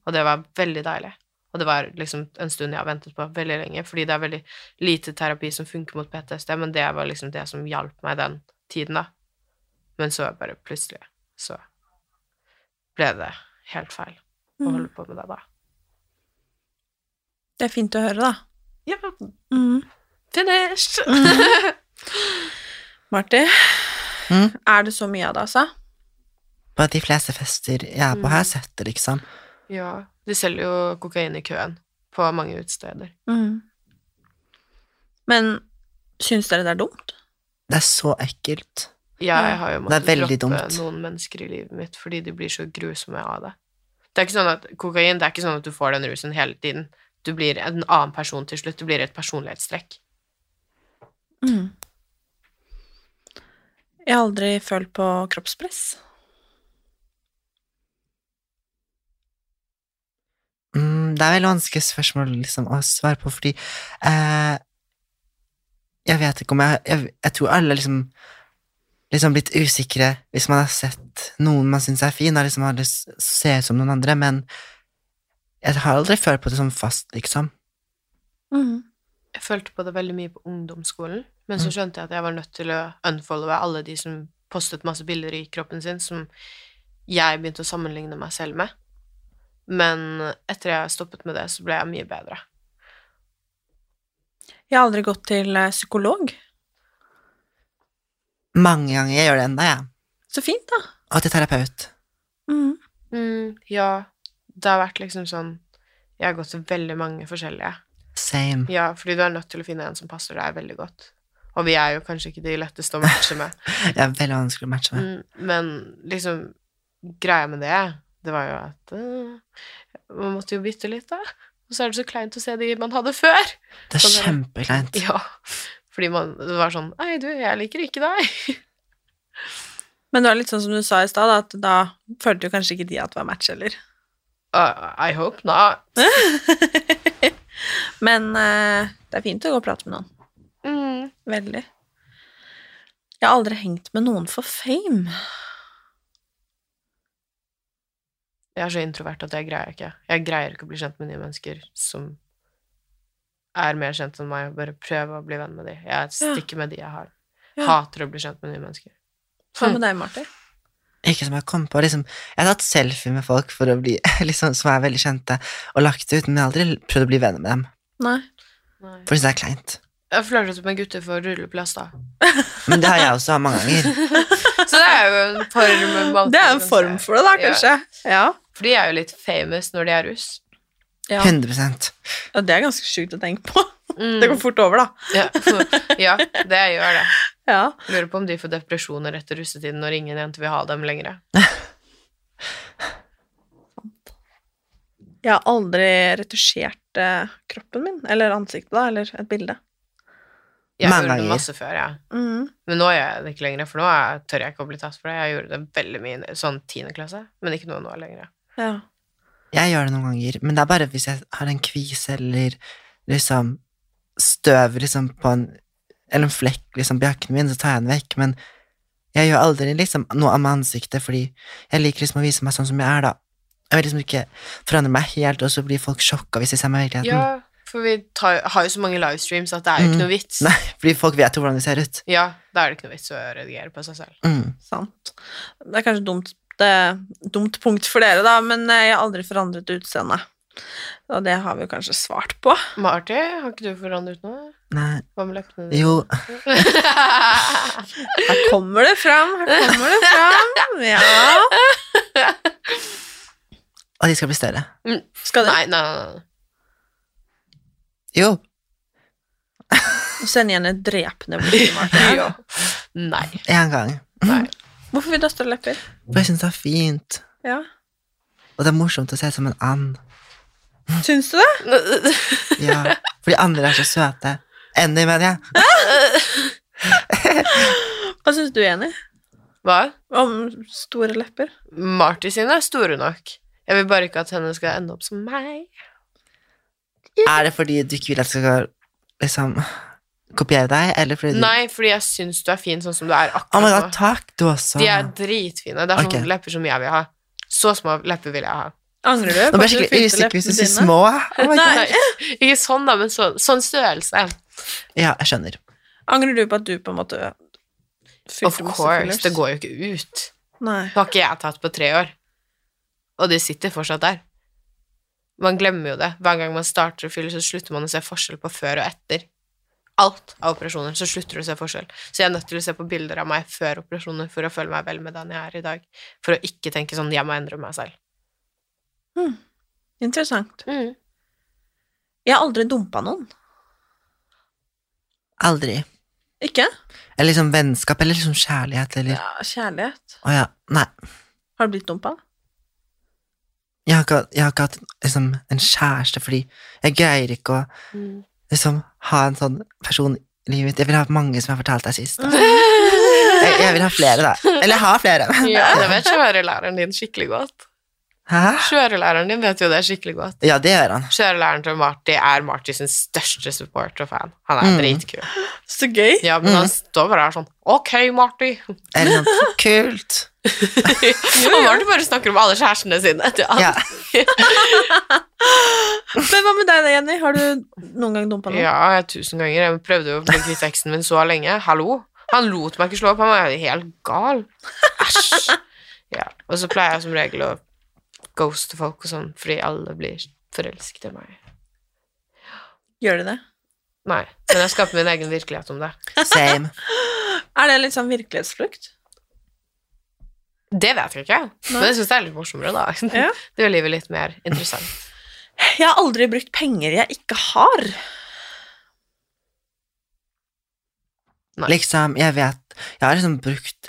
S4: Og det var veldig deilig. Og det var liksom en stund jeg har ventet på veldig lenge, fordi det er veldig lite terapi som funker mot PTSD, men det var liksom det som hjalp meg den tiden, da. Men så bare plutselig så ble det helt feil å
S2: Mhm.
S4: holde på med det, da.
S2: Det er fint å høre, da.
S4: Ja,
S2: Mm.
S4: finished!
S2: Marti,
S3: Mm.
S2: er det så mye av det, altså?
S3: På de fleste fester jeg er på, har jeg sett det, liksom.
S4: Ja, de selger jo kokain i køen på mange utesteder.
S2: Mm. Men syns dere det er dumt?
S3: Det er så ekkelt.
S4: Jeg har jo måttet
S3: Det er veldig
S4: droppe
S3: dumt.
S4: noen mennesker i livet mitt fordi de blir så grusomme av det. Det er ikke sånn at kokain, det er ikke sånn at du får den rusen hele tiden. Du blir en annen person til slutt. Du blir et personlighetstrekk.
S3: Mm.
S2: Jeg har aldri følt på kroppspress.
S3: Mm, det er veldig vanskelig spørsmål liksom, å svare på, fordi eh, Jeg vet ikke om jeg Jeg, jeg tror alle liksom liksom blitt usikre hvis man har sett noen man syns er fin, og liksom har lyst til å se ut som noen andre, men jeg har aldri følt på det som fast, liksom.
S2: Mhm.
S4: Jeg følte på det veldig mye på ungdomsskolen, men
S2: Mm.
S4: så skjønte jeg at jeg var nødt til å unfollowe alle de som postet masse bilder i kroppen sin, som jeg begynte å sammenligne meg selv med. Men etter jeg stoppet med det, så ble jeg mye bedre.
S2: Jeg har aldri gått til eh, psykolog.
S3: Mange ganger. Jeg gjør det ennå, jeg.
S2: Så fint, da.
S3: Og til terapeut.
S2: Mhm.
S4: Mm, ja, det har vært liksom sånn Jeg har gått til veldig mange forskjellige.
S3: Same.
S4: Ja, fordi du er nødt til å finne en som passer deg veldig godt. Og vi er jo kanskje ikke de letteste å matche med.
S3: Jeg er veldig vanskelig å matche med.
S4: Mm, men liksom, greia med det, det var jo at eh, man måtte jo bytte litt, da. Og så er det så kleint å se de man hadde før.
S3: Det er
S4: Sånn er
S3: kjempekleint.
S4: [laughs] Ja, fordi man det var sånn Nei, du, jeg liker ikke deg. [laughs]
S2: Men det var litt sånn som du sa i stad, da, at da følte jo kanskje ikke de at det var match heller.
S4: Uh, I hope not.
S2: [laughs] Men eh, det er fint å gå og prate med noen.
S4: Mm.
S2: Veldig. Jeg har aldri hengt med noen for fame.
S4: Jeg er så introvert at jeg greier ikke. Jeg greier ikke å bli kjent med nye mennesker som er mer kjent enn meg, og bare prøve å bli venn med de. Jeg stikker med de jeg har.
S2: Ja.
S4: Hater å bli kjent med nye mennesker.
S2: Hva med deg, Martin?
S3: Ikke som jeg kom på. Liksom, jeg har tatt selfie med folk for å bli, [laughs] liksom, som er veldig kjente, og lagt det ut, men jeg har aldri prøvd å bli venner med dem.
S2: Nei.
S4: Nei.
S3: For jeg synes det er kleint.
S4: Jeg flørtet med gutter for rulleplass, da.
S3: [laughs] Men det har jeg også mange ganger.
S4: [laughs] Så det er jo en form av-
S2: Det er en form for det, da, kanskje. Ja.
S4: For de er jo litt famous når de er russ.
S2: ja.
S3: 100
S2: ja det er ganske sjukt å tenke på.
S4: Mm.
S2: Det går fort over, da.
S4: ja. ja, det gjør det.
S2: Ja.
S4: Lurer på om de får depresjoner etter russetiden når ingen jenter vil ha dem lenger.
S2: Jeg har aldri retusjert eh, kroppen min, eller ansiktet, da, eller et bilde.
S4: Jeg
S3: Mange
S4: gjorde det
S3: ganger.
S4: masse før, jeg.
S2: Mm.
S4: Men nå gjør jeg det ikke lenger, for nå er- tør jeg ikke å bli tatt for det. Jeg gjorde det veldig mye i sånn tiende klasse, men ikke noe nå lenger.
S2: Ja.
S3: Jeg gjør det noen ganger, men det er bare hvis jeg har en kvise eller liksom støv liksom, på en Eller en flekk liksom, på jakken min, så tar jeg den vekk. Men jeg gjør aldri liksom, noe med ansiktet, fordi jeg liker liksom, å vise meg sånn som jeg er, da. Jeg vil liksom ikke forandre meg helt, og så blir folk sjokka hvis de ser meg i virkeligheten.
S4: Ja, for vi tar, har jo så mange livestreams at det er jo ikke noe vits.
S3: Mm. Nei, fordi folk vet jo hvordan de ser ut.
S4: Ja, da er det ikke noe vits å redigere på seg selv.
S3: Mm.
S2: Sant. Det er kanskje dumt, det, dumt punkt for dere, da, men eh, jeg har aldri forandret utseendet. Og det har vi jo kanskje svart på.
S4: Marty, har ikke du forandret noe?
S3: Nei,
S4: Hva med leppene dine?
S3: jo
S2: Her kommer det fram, her kommer det fram. Ja.
S3: Og de skal bli større.
S2: Skal du
S4: Mm. Nei, nei, nei. nei.
S3: Jo.
S2: sende igjen et drepende blikk,
S3: [laughs]
S2: Marte?
S4: Ja. Nei.
S3: En gang.
S2: Hvorfor vil du ha større lepper?
S3: Og jeg syns det er fint.
S2: Ja.
S3: Og det er morsomt å se ut som en and.
S2: Syns du det?
S3: Ja. Fordi andre er så søte. Annie, mener jeg.
S2: Hva syns du, Jenny,
S4: Hva?
S2: om store lepper?
S4: Marty sine er store nok. Jeg vil bare ikke at henne skal ende opp som meg.
S3: Er det fordi du ikke vil at jeg skal liksom kopiere deg, eller fordi du
S4: Nei, fordi jeg syns du er fin sånn som du er
S3: Oh my
S4: akkurat
S3: god,
S4: nå.
S3: takk, du også.
S4: De er dritfine. Det er sånn
S3: Ok.
S4: sånne lepper som jeg vil ha. Så små lepper vil jeg ha.
S2: Angrer du
S3: Nå
S2: på
S3: ble
S2: at
S3: jeg
S2: du
S3: skikkelig
S2: fylte
S3: usikker hvis du
S2: leppene
S3: sier
S2: dine?
S3: små. Oh my god.
S2: Nei.
S4: Ikke sånn, da, men sånn, sånn størrelse.
S3: Ja, jeg skjønner.
S2: Angrer du på at du på en måte
S4: Of
S2: fylte masse
S4: course.
S2: fillers?
S4: Det går jo ikke ut.
S2: Nei.
S4: Det har ikke jeg tatt på tre år. Og de sitter fortsatt der. Man glemmer jo det. Hver gang man starter å fylle, så slutter man å se forskjell på før og etter. Alt av operasjoner, så slutter du å se forskjell. Så jeg er nødt til å se på bilder av meg før operasjoner for å føle meg vel med den jeg er i dag. For å ikke tenke sånn 'jeg må endre meg selv'.
S2: Hmm.
S4: Mm.
S2: Interessant. Jeg har aldri dumpa noen.
S3: Aldri.
S2: Ikke?
S3: Eller liksom vennskap, eller liksom kjærlighet, eller Å ja.
S2: Ja, kjærlighet.
S3: Nei.
S2: Har du blitt dumpa?
S3: Jeg har, ikke, jeg har ikke hatt liksom, en kjæreste fordi jeg greier ikke å liksom, ha en sånn person i livet mitt. Jeg vil ha mange som jeg fortalte deg sist. Da. Jeg, jeg vil ha flere, da. Eller jeg har flere.
S4: Ja, det vet kjørelæreren din skikkelig godt.
S3: Hæ?
S4: Kjørelæreren din vet jo det skikkelig godt.
S3: Ja, det gjør han.
S4: Kjørelæreren til Marty er Marty sin største supporter og fan. Han er
S3: Mm.
S4: dritkul.
S2: Så gøy!
S4: Ja, men han står bare der sånn 'Ok, Marty'.
S3: Eller sånn Kult.
S4: Og Martin bare snakker om alle kjærestene sine. til alt.
S3: Ja.
S2: [laughs] Men hva med deg da, Jenny? Har du noen gang dumpa noen?
S4: Ja, jeg tusen ganger. Jeg prøvde jo å bli kvitt eksen min så lenge. Hallo. Han lot meg ikke slå opp. Han var jo helt gal. Æsj. Ja. Og så pleier jeg som regel å ghoste folk og sånn, fordi alle blir forelsket i meg.
S2: Gjør de det?
S4: Nei. Men jeg skaper min egen virkelighet om det. [laughs]
S3: Same.
S2: Er det litt sånn virkelighetsflukt?
S4: Det vet jeg ikke. Men jeg syns det er litt morsommere, da. [laughs]
S2: Ja.
S4: Det gjør livet litt mer interessant.
S2: [laughs] Jeg har aldri brukt penger jeg ikke har.
S3: Liksom, jeg vet Jeg har liksom brukt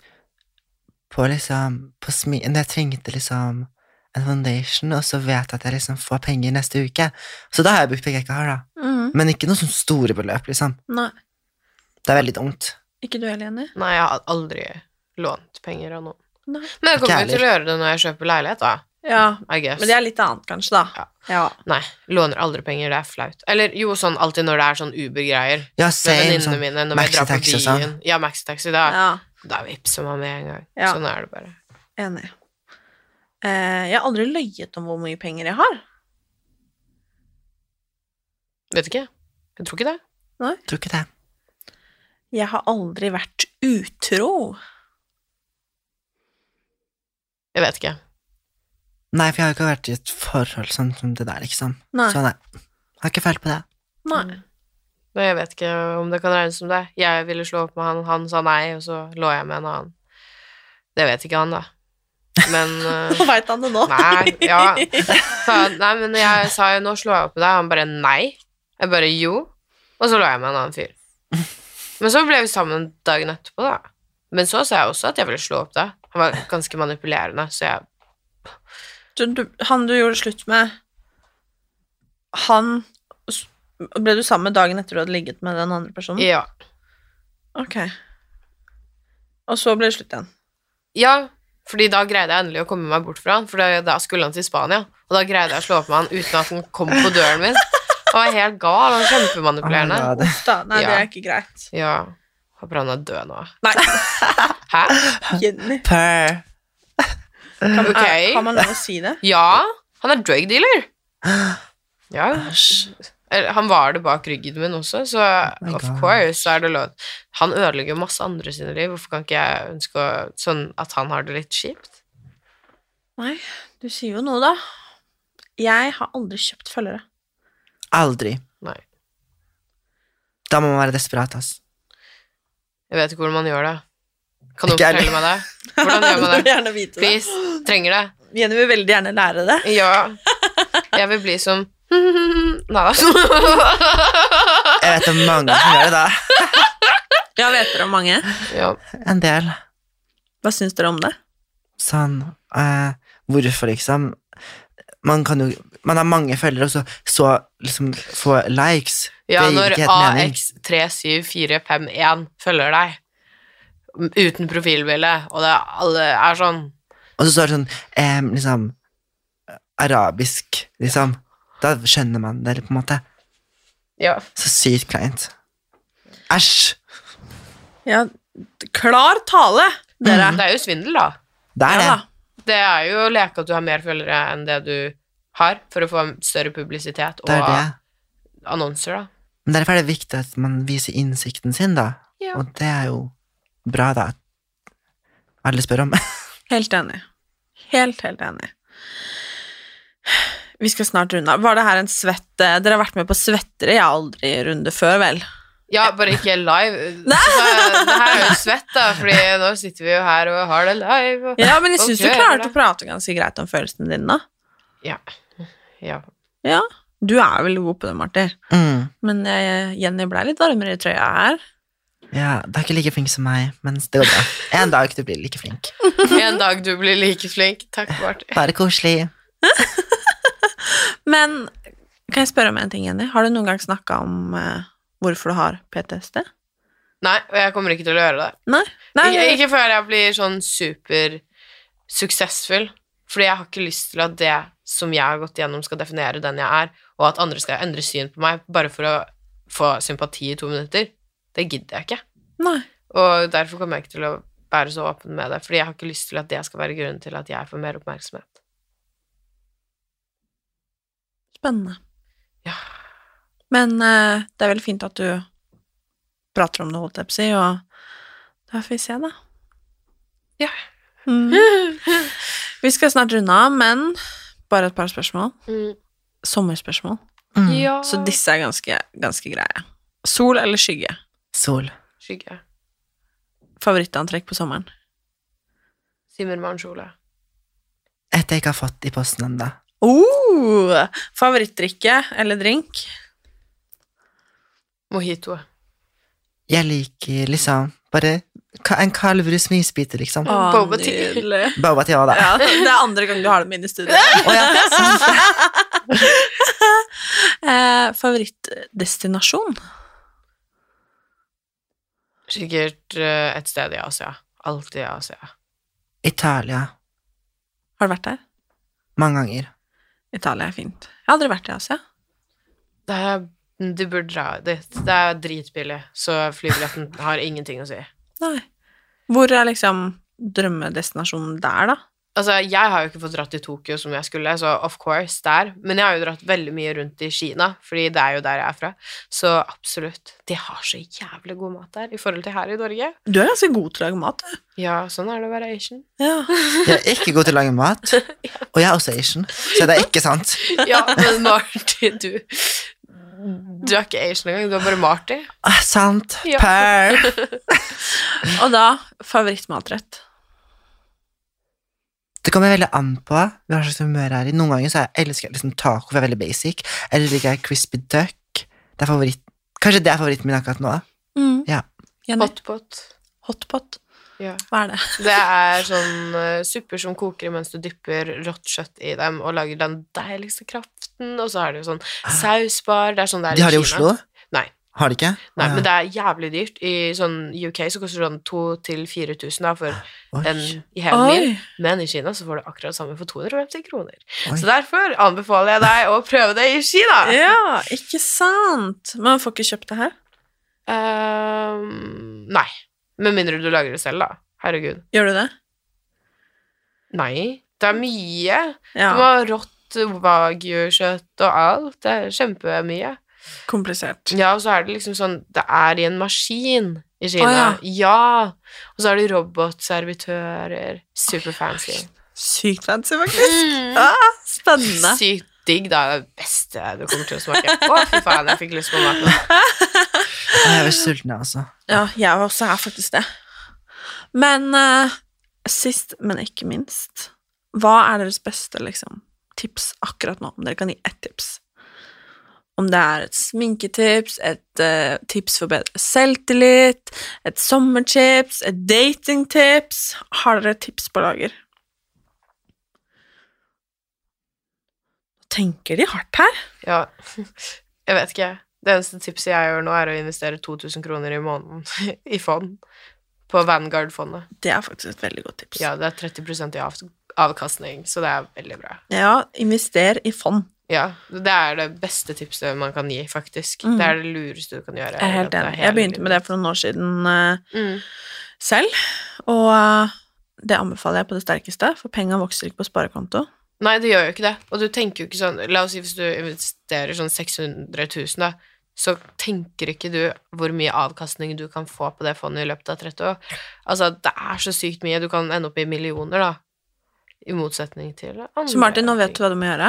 S3: på liksom på smi, Når jeg trengte liksom en foundation, og så vet jeg at jeg liksom får penger neste uke. Så da har jeg brukt penger jeg ikke har, da.
S2: Mhm.
S3: Men ikke noe sånn store beløp, liksom.
S2: Nei.
S3: Det er veldig dumt.
S2: Ikke du heller, Jenny?
S4: Nei, jeg har aldri lånt penger av noen.
S2: Nei.
S4: Men jeg kommer
S3: Ikke
S4: jo til å gjøre det når jeg kjøper leilighet, da.
S2: Ja,
S4: I guess.
S2: men det er litt annet, kanskje, da.
S4: Ja.
S2: Ja.
S4: Nei, låner aldri penger, det er flaut. Eller jo, sånn alltid når det er sånn Uber-greier.
S3: Ja,
S4: Med
S3: same,
S4: venninnene
S3: sånn
S4: mine når vi drar på
S3: maxitaxi og
S4: byen.
S3: sånn.
S4: Ja, maxitaxi, da,
S2: ja.
S4: da vipser man med en gang.
S2: Ja.
S4: Sånn er det bare.
S2: Enig. Eh, jeg har aldri løyet om hvor mye penger jeg har.
S4: Vet ikke. Jeg tror ikke det.
S3: Tror ikke det.
S2: Jeg har aldri vært utro.
S4: Jeg vet ikke.
S3: Nei, for jeg har jo ikke vært i et forhold sånn som det der, liksom.
S2: Nei.
S3: Så nei. Har ikke følt på det.
S2: Nei.
S4: Nei, Mm. jeg vet ikke om det kan regnes som det. Jeg ville slå opp med han, han sa nei, og så lå jeg med en annen. Det vet ikke han, da.
S2: [laughs]
S4: Men eh,
S2: Nå veit han det nå.
S4: Nei, ja. Så, nei, men jeg sa jo 'nå slår jeg opp med deg', han bare 'nei'. Jeg bare 'jo', og så lå jeg med en annen fyr. Men så ble vi sammen dagen etterpå, da. Men så sa jeg også at jeg ville slå opp deg. Han var ganske manipulerende, så jeg
S2: Du, du, han du gjorde slutt med Han s- Ble du sammen med dagen etter du hadde ligget med den andre personen?
S4: Ja.
S2: Ok. Og så ble det slutt igjen.
S4: ja fordi da greide jeg endelig å komme meg bort fra han, for da- da skulle han til Spania. Og da greide jeg å slå opp med han uten at han kom på døren min. Han var helt gal, han var
S3: Oh
S4: kjempemanipulerende.
S3: my god.
S2: Da, nei,
S4: Ja.
S2: det er ikke greit.
S4: Ja. Håper han er død nå.
S2: Nei,
S4: Hæ?
S2: Jenny.
S3: Purr.
S4: Ok.
S2: Har man lov å si det?
S4: Ja, han er drug
S3: [gasps]
S4: dealer. Ja. Eller, Han var det bak ryggen min også, så
S3: Oh my
S4: of
S3: God.
S4: course er det lov. Han ødelegger jo masse andre sine liv. Hvorfor kan ikke jeg ønske å, sånn at han har det litt kjipt?
S2: Nei, du sier jo noe, da. Jeg har aldri kjøpt følgere.
S3: Aldri.
S4: Nei.
S3: Da må man være desperat, ass.
S4: Jeg vet ikke hvordan man gjør det. Kan noen
S3: Ikke jeg
S4: fortelle meg det?
S3: [laughs]
S4: Hvordan
S2: Du
S4: gjør man
S2: vil
S4: det?
S2: gjerne vite det.
S4: Please. Trenger det.
S2: Jenny vil veldig gjerne lære det.
S4: Ja. Jeg vil bli som [laughs] Nei da.
S3: Jeg vet om mange som gjør det, da.
S2: Ja, vet dere om mange?
S4: Ja.
S3: En del.
S2: Hva syns dere om det?
S3: Sånn eh, Hvorfor, liksom? Man kan jo Man har mange følgere, og så, så liksom få likes.
S4: Ja,
S3: det
S4: når
S3: gir ikke helt mening.
S4: AX37451 følger deg m- uten profilbilde, og det er alle er sånn
S3: Og så står det sånn eh, liksom Arabisk, liksom. Da skjønner man det, på en måte.
S4: Ja.
S3: Så sykt kleint. Æsj!
S2: Ja, klar tale, dere.
S4: Det er jo svindel, da.
S3: Det
S2: Ja,
S3: er det.
S2: da.
S4: Det er jo å leke at du har mer følgere enn det du har, for å få større publisitet og
S3: Det er det.
S4: annonser, da.
S3: Men derfor er det viktig at man viser innsikten sin, da.
S4: Ja.
S3: Og det er jo bra, da. Alle spør om. [laughs]
S2: Helt enig. Helt, helt enig. Vi skal snart runde av. Var det her en svette Dere har vært med på svettere. Jeg har aldri runde før, vel?
S4: Ja, bare ikke live. Altså, det her er jo svett, da, Fordi nå sitter vi jo her og har det live. Og...
S2: Ja, men jeg syns
S4: Ok,
S2: du klarte
S4: det.
S2: å prate ganske greit om følelsene dine. da.
S4: Ja. ja.
S2: Ja, du er veldig god på det, Marti.
S3: Mm.
S2: Men eh, Jenny ble litt varmere i trøya her.
S3: Ja, du er ikke like flink som meg, men det går bra. En dag du blir like flink.
S4: En dag du blir like flink. Takk, Martin.
S3: Bare koselig.
S2: Men kan jeg spørre om en ting, Jenny? Har du noen gang snakka om eh, hvorfor du har PTSD?
S4: Nei, og jeg kommer ikke til å gjøre det.
S2: Nei. Nei,
S4: Ikke, ikke før jeg blir sånn super suksessfull. Fordi jeg har ikke lyst til at det som jeg har gått gjennom, skal definere den jeg er, og at andre skal endre syn på meg bare for å få sympati i to minutter. Det gidder jeg ikke.
S2: nei.
S4: Og derfor kommer jeg ikke til å være så åpen med det, fordi jeg har ikke lyst til at det skal være grunnen til at jeg får mer oppmerksomhet.
S2: Spennende.
S4: Ja.
S2: Men eh, det er veldig fint at du prater om det, holdt jeg på å si, og da får vi se, da.
S4: Ja. [laughs]
S2: Mm. Vi skal snart runde av, men bare et par spørsmål. Sommerspørsmål.
S4: Mm. Ja.
S2: Så disse er ganske, ganske greie. Sol eller skygge?
S3: Sol.
S4: Skygge.
S2: Favorittantrekk på sommeren?
S4: Simmermannskjole.
S3: Et jeg ikke har fått i posten ennå.
S2: Oh, favorittdrikke eller drink?
S4: Mojito.
S3: Jeg liker liksom bare ka- en kald brus med isbiter, liksom.
S2: Å,
S4: Boba tea.
S2: nydelig.
S3: Boba til Ada.
S2: Ja, det er andre gang du har dem inne i studio.
S3: Å ja, sant det.
S2: Eh, favorittdestinasjon?
S4: Sikkert eh, et sted i Asia. Alltid i Asia.
S3: Italia.
S2: Har du vært der?
S3: Mange ganger.
S2: Italia er fint. Jeg har aldri vært i Asia.
S4: Det er, du burde dra dit. Det er dritbillig, så
S2: [laughs]
S4: flybilletten har ingenting å si.
S2: Nei. Hvor er liksom drømmedestinasjonen der, da?
S4: Altså, jeg har jo ikke fått dratt til Tokyo som jeg skulle, så of course der. Men jeg har jo dratt veldig mye rundt i Kina, fordi det er jo der jeg er fra. Så absolutt. De har så jævlig god mat der i forhold til her i Norge.
S2: Du er ganske god til å lage mat. du.
S4: Ja, sånn er det å være Asian.
S2: Ja.
S3: Jeg er ikke god til å lage
S2: [laughs]
S3: mat, og jeg er også Asian, så det er ikke sant.
S4: Ja, men Marty, du Du er ikke Asian engang, du er bare Marty.
S3: Ah, sant.
S4: Ja.
S3: Per.
S4: [laughs]
S2: Og da favorittmatrett.
S3: Det kommer veldig an på hva slags humør jeg er i. Noen ganger så jeg elsker jeg liksom taco, for jeg er veldig basic. Eller liker jeg crispy duck. Det er favoritt. Kanskje det er favoritten min akkurat nå.
S2: Mm.
S3: Ja.
S2: Jenny,
S4: Hotpot.
S2: hotpot.
S4: Ja.
S2: Hva er det?
S4: Det er sånn eh, supper som koker mens du dypper rått kjøtt i dem og lager den deiligste kraften, og så er det jo sånn sausbar Det er sånn det er
S3: Ah. De har det i
S4: Kina.
S3: Oslo?
S4: Nei.
S3: Har de ikke?
S4: Nei,
S3: Ah,
S4: men det er jævlig dyrt. I sånn UK så koster det sånn 2000-4000 da, for
S3: oi.
S4: en i hele mil.
S2: Oi.
S4: Men i Kina så får du akkurat samme for 250 kroner.
S3: Oi.
S4: Så derfor anbefaler jeg deg å prøve det i Kina.
S2: Ja, ikke sant? Men man får ikke kjøpt det her.
S4: Ehm, nei. Med mindre du lager det selv, da. Herregud.
S2: Gjør du det?
S4: Nei. Det er mye.
S2: Ja.
S4: Du må ha rått wagyu-kjøtt og alt. Det er kjempemye.
S2: Komplisert.
S4: Ja, og så er det liksom sånn Det er i en maskin i Kina.
S2: Å,
S4: ja. Og så er det robotservitører. Superfancy. Mm.
S2: Sykt fancy, faktisk. Ah, spennende.
S4: Sykt digg, da. Det er det beste du kommer til å smake. Å, fy faen, jeg fikk lyst på mat nå.
S3: Jeg er veldig sulten, jeg også.
S2: Ja, jeg også er faktisk det. Men eh, sist, men ikke minst, hva er deres beste liksom, tips akkurat nå? Om dere kan gi ett tips. Om det er et sminketips, et eh, tips for bedre selvtillit, et sommertips, et datingtips Har dere tips på lager? Tenker de hardt her?
S4: Ja. Jeg vet ikke. Det eneste tipset jeg gjør nå, er å investere 2000 kroner i måneden [laughs] i fond. På Vanguard-fondet.
S2: Det er faktisk et veldig godt tips.
S4: Ja, det er 30 i av- avkastning, så det er veldig bra.
S2: ja invester i fond.
S4: Ja, det er det beste tipset man kan gi, faktisk.
S2: Mm.
S4: Det er det lureste du kan gjøre.
S2: Jeg er helt
S4: Det er
S2: enig.
S4: hele
S2: Jeg begynte med det
S4: livet.
S2: for noen år siden eh,
S4: Mm.
S2: selv, og eh, det anbefaler jeg på det sterkeste, for penga vokser ikke på sparekonto.
S4: Nei, det gjør jo ikke det. Og du tenker jo ikke sånn La oss si hvis du investerer sånn 600 000, da, så tenker ikke du hvor mye avkastning du kan få på det fondet i løpet av 30 år. Altså, det er så sykt mye. Du kan ende opp i millioner, da. I motsetning til andre
S2: Så Martin, nå vet du hva du må gjøre.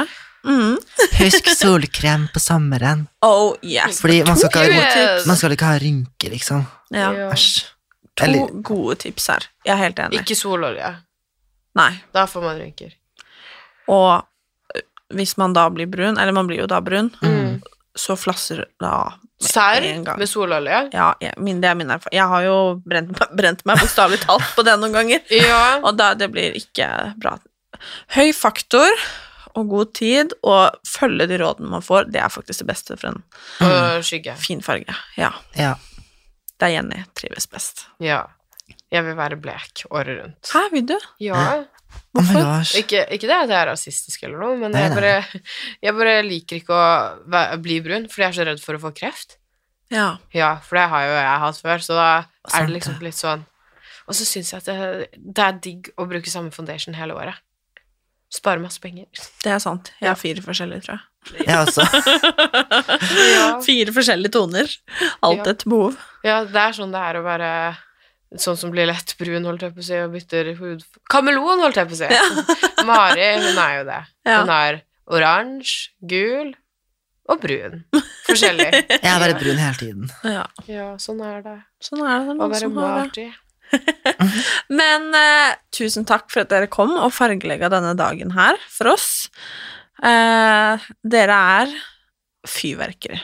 S2: Mm.
S3: Husk solkrem på sommeren.
S2: [laughs] Oh yes!
S3: Fordi man skal, ikke ha,
S4: Yes!
S3: man skal ikke ha rynker, liksom.
S2: Ja.
S4: Ja.
S3: Æsj.
S2: To
S3: Eller-
S2: gode tips her. Jeg er helt enig.
S4: Ikke sololje.
S2: Nei.
S4: Da får man rynker.
S2: Og eh, hvis man da blir brun, eller man blir jo da brun, så flasser det av. med
S4: Serr
S2: en gang.
S4: Mm. med sololje.
S2: Ja, jeg, min, det er min erfaring. Jeg har jo brent, meg- brent meg bokstavelig talt
S6: [laughs]
S2: på det noen ganger.
S4: Ja.
S2: Og da, det blir ikke bra. Høy faktor og god tid, og følge de rådene man får, det er faktisk det beste for en
S4: Og skygge.
S2: fin farge. Ja,
S3: Ja.
S2: det er Jenny trives best.
S4: Ja. Jeg vil være blek året rundt.
S2: Hæ, vil du?
S4: Ja. [laughs]
S3: Oh my gosh.
S4: Ikke, ikke det at jeg er rasistisk eller noe, men
S3: Nei,
S4: jeg
S3: nei.
S4: bare, jeg bare liker ikke å væ- bli brun, fordi jeg er så redd for å få kreft.
S2: Ja.
S4: Ja, for det har jo jeg hatt før, så da er
S3: Sant
S4: det liksom
S3: det.
S4: litt sånn
S6: Og så syns jeg at det, det er digg å bruke samme foundation hele året. Spare masse penger.
S4: Det er sant. Jeg har fire forskjellige, tror jeg.
S3: Jeg også.
S6: [laughs]
S2: [laughs]
S6: Ja.
S4: Fire forskjellige toner. Alt
S6: Ja.
S4: et behov.
S6: ja, det er sånn det er å være sånn som blir lett brun, holdt jeg på å si, og bytter hud Kameleon, holdt jeg på å si! Mari, hun er jo det.
S4: Ja.
S6: Hun er oransje, gul og brun. Forskjellig.
S2: [laughs]
S3: Jeg er bare brun hele tiden.
S4: Ja,
S6: Ja, sånn er det.
S4: sånn er
S6: Å
S4: det. det er noen
S6: være
S4: som har det.
S6: Marty.
S2: [laughs]
S4: Men eh, tusen takk for at dere kom og fargelegga denne dagen her for oss. Eh, dere er fyrverkeri.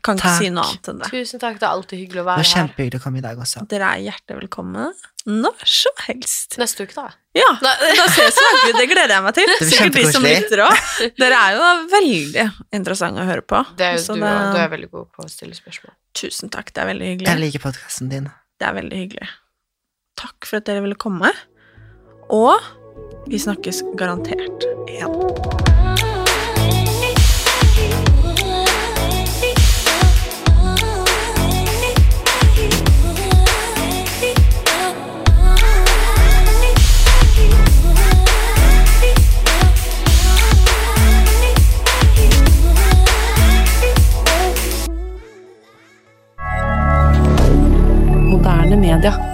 S4: Kan ikke
S3: Takk.
S4: si noe annet enn det.
S6: Tusen takk, det er alltid hyggelig å
S3: Det
S6: være
S3: var
S6: her.
S3: kjempehyggelig å komme i dag også.
S4: Dere er hjertelig velkomne når som helst.
S6: Neste uke, da.
S4: Ja, da, ses vi. Det gleder jeg meg til.
S3: blir
S4: Sikkert de som
S3: kjempekoselig.
S4: lytter òg. Dere er jo veldig interessante å høre på.
S6: Det er jo
S4: Så
S6: du
S4: det-
S6: òg. Du er veldig god på å stille spørsmål.
S4: Tusen takk. Det er veldig hyggelig.
S3: Jeg liker podkasten din.
S4: Det er veldig hyggelig. Takk for at dere ville komme. Og vi snakkes garantert igjen.
S1: Moderne media.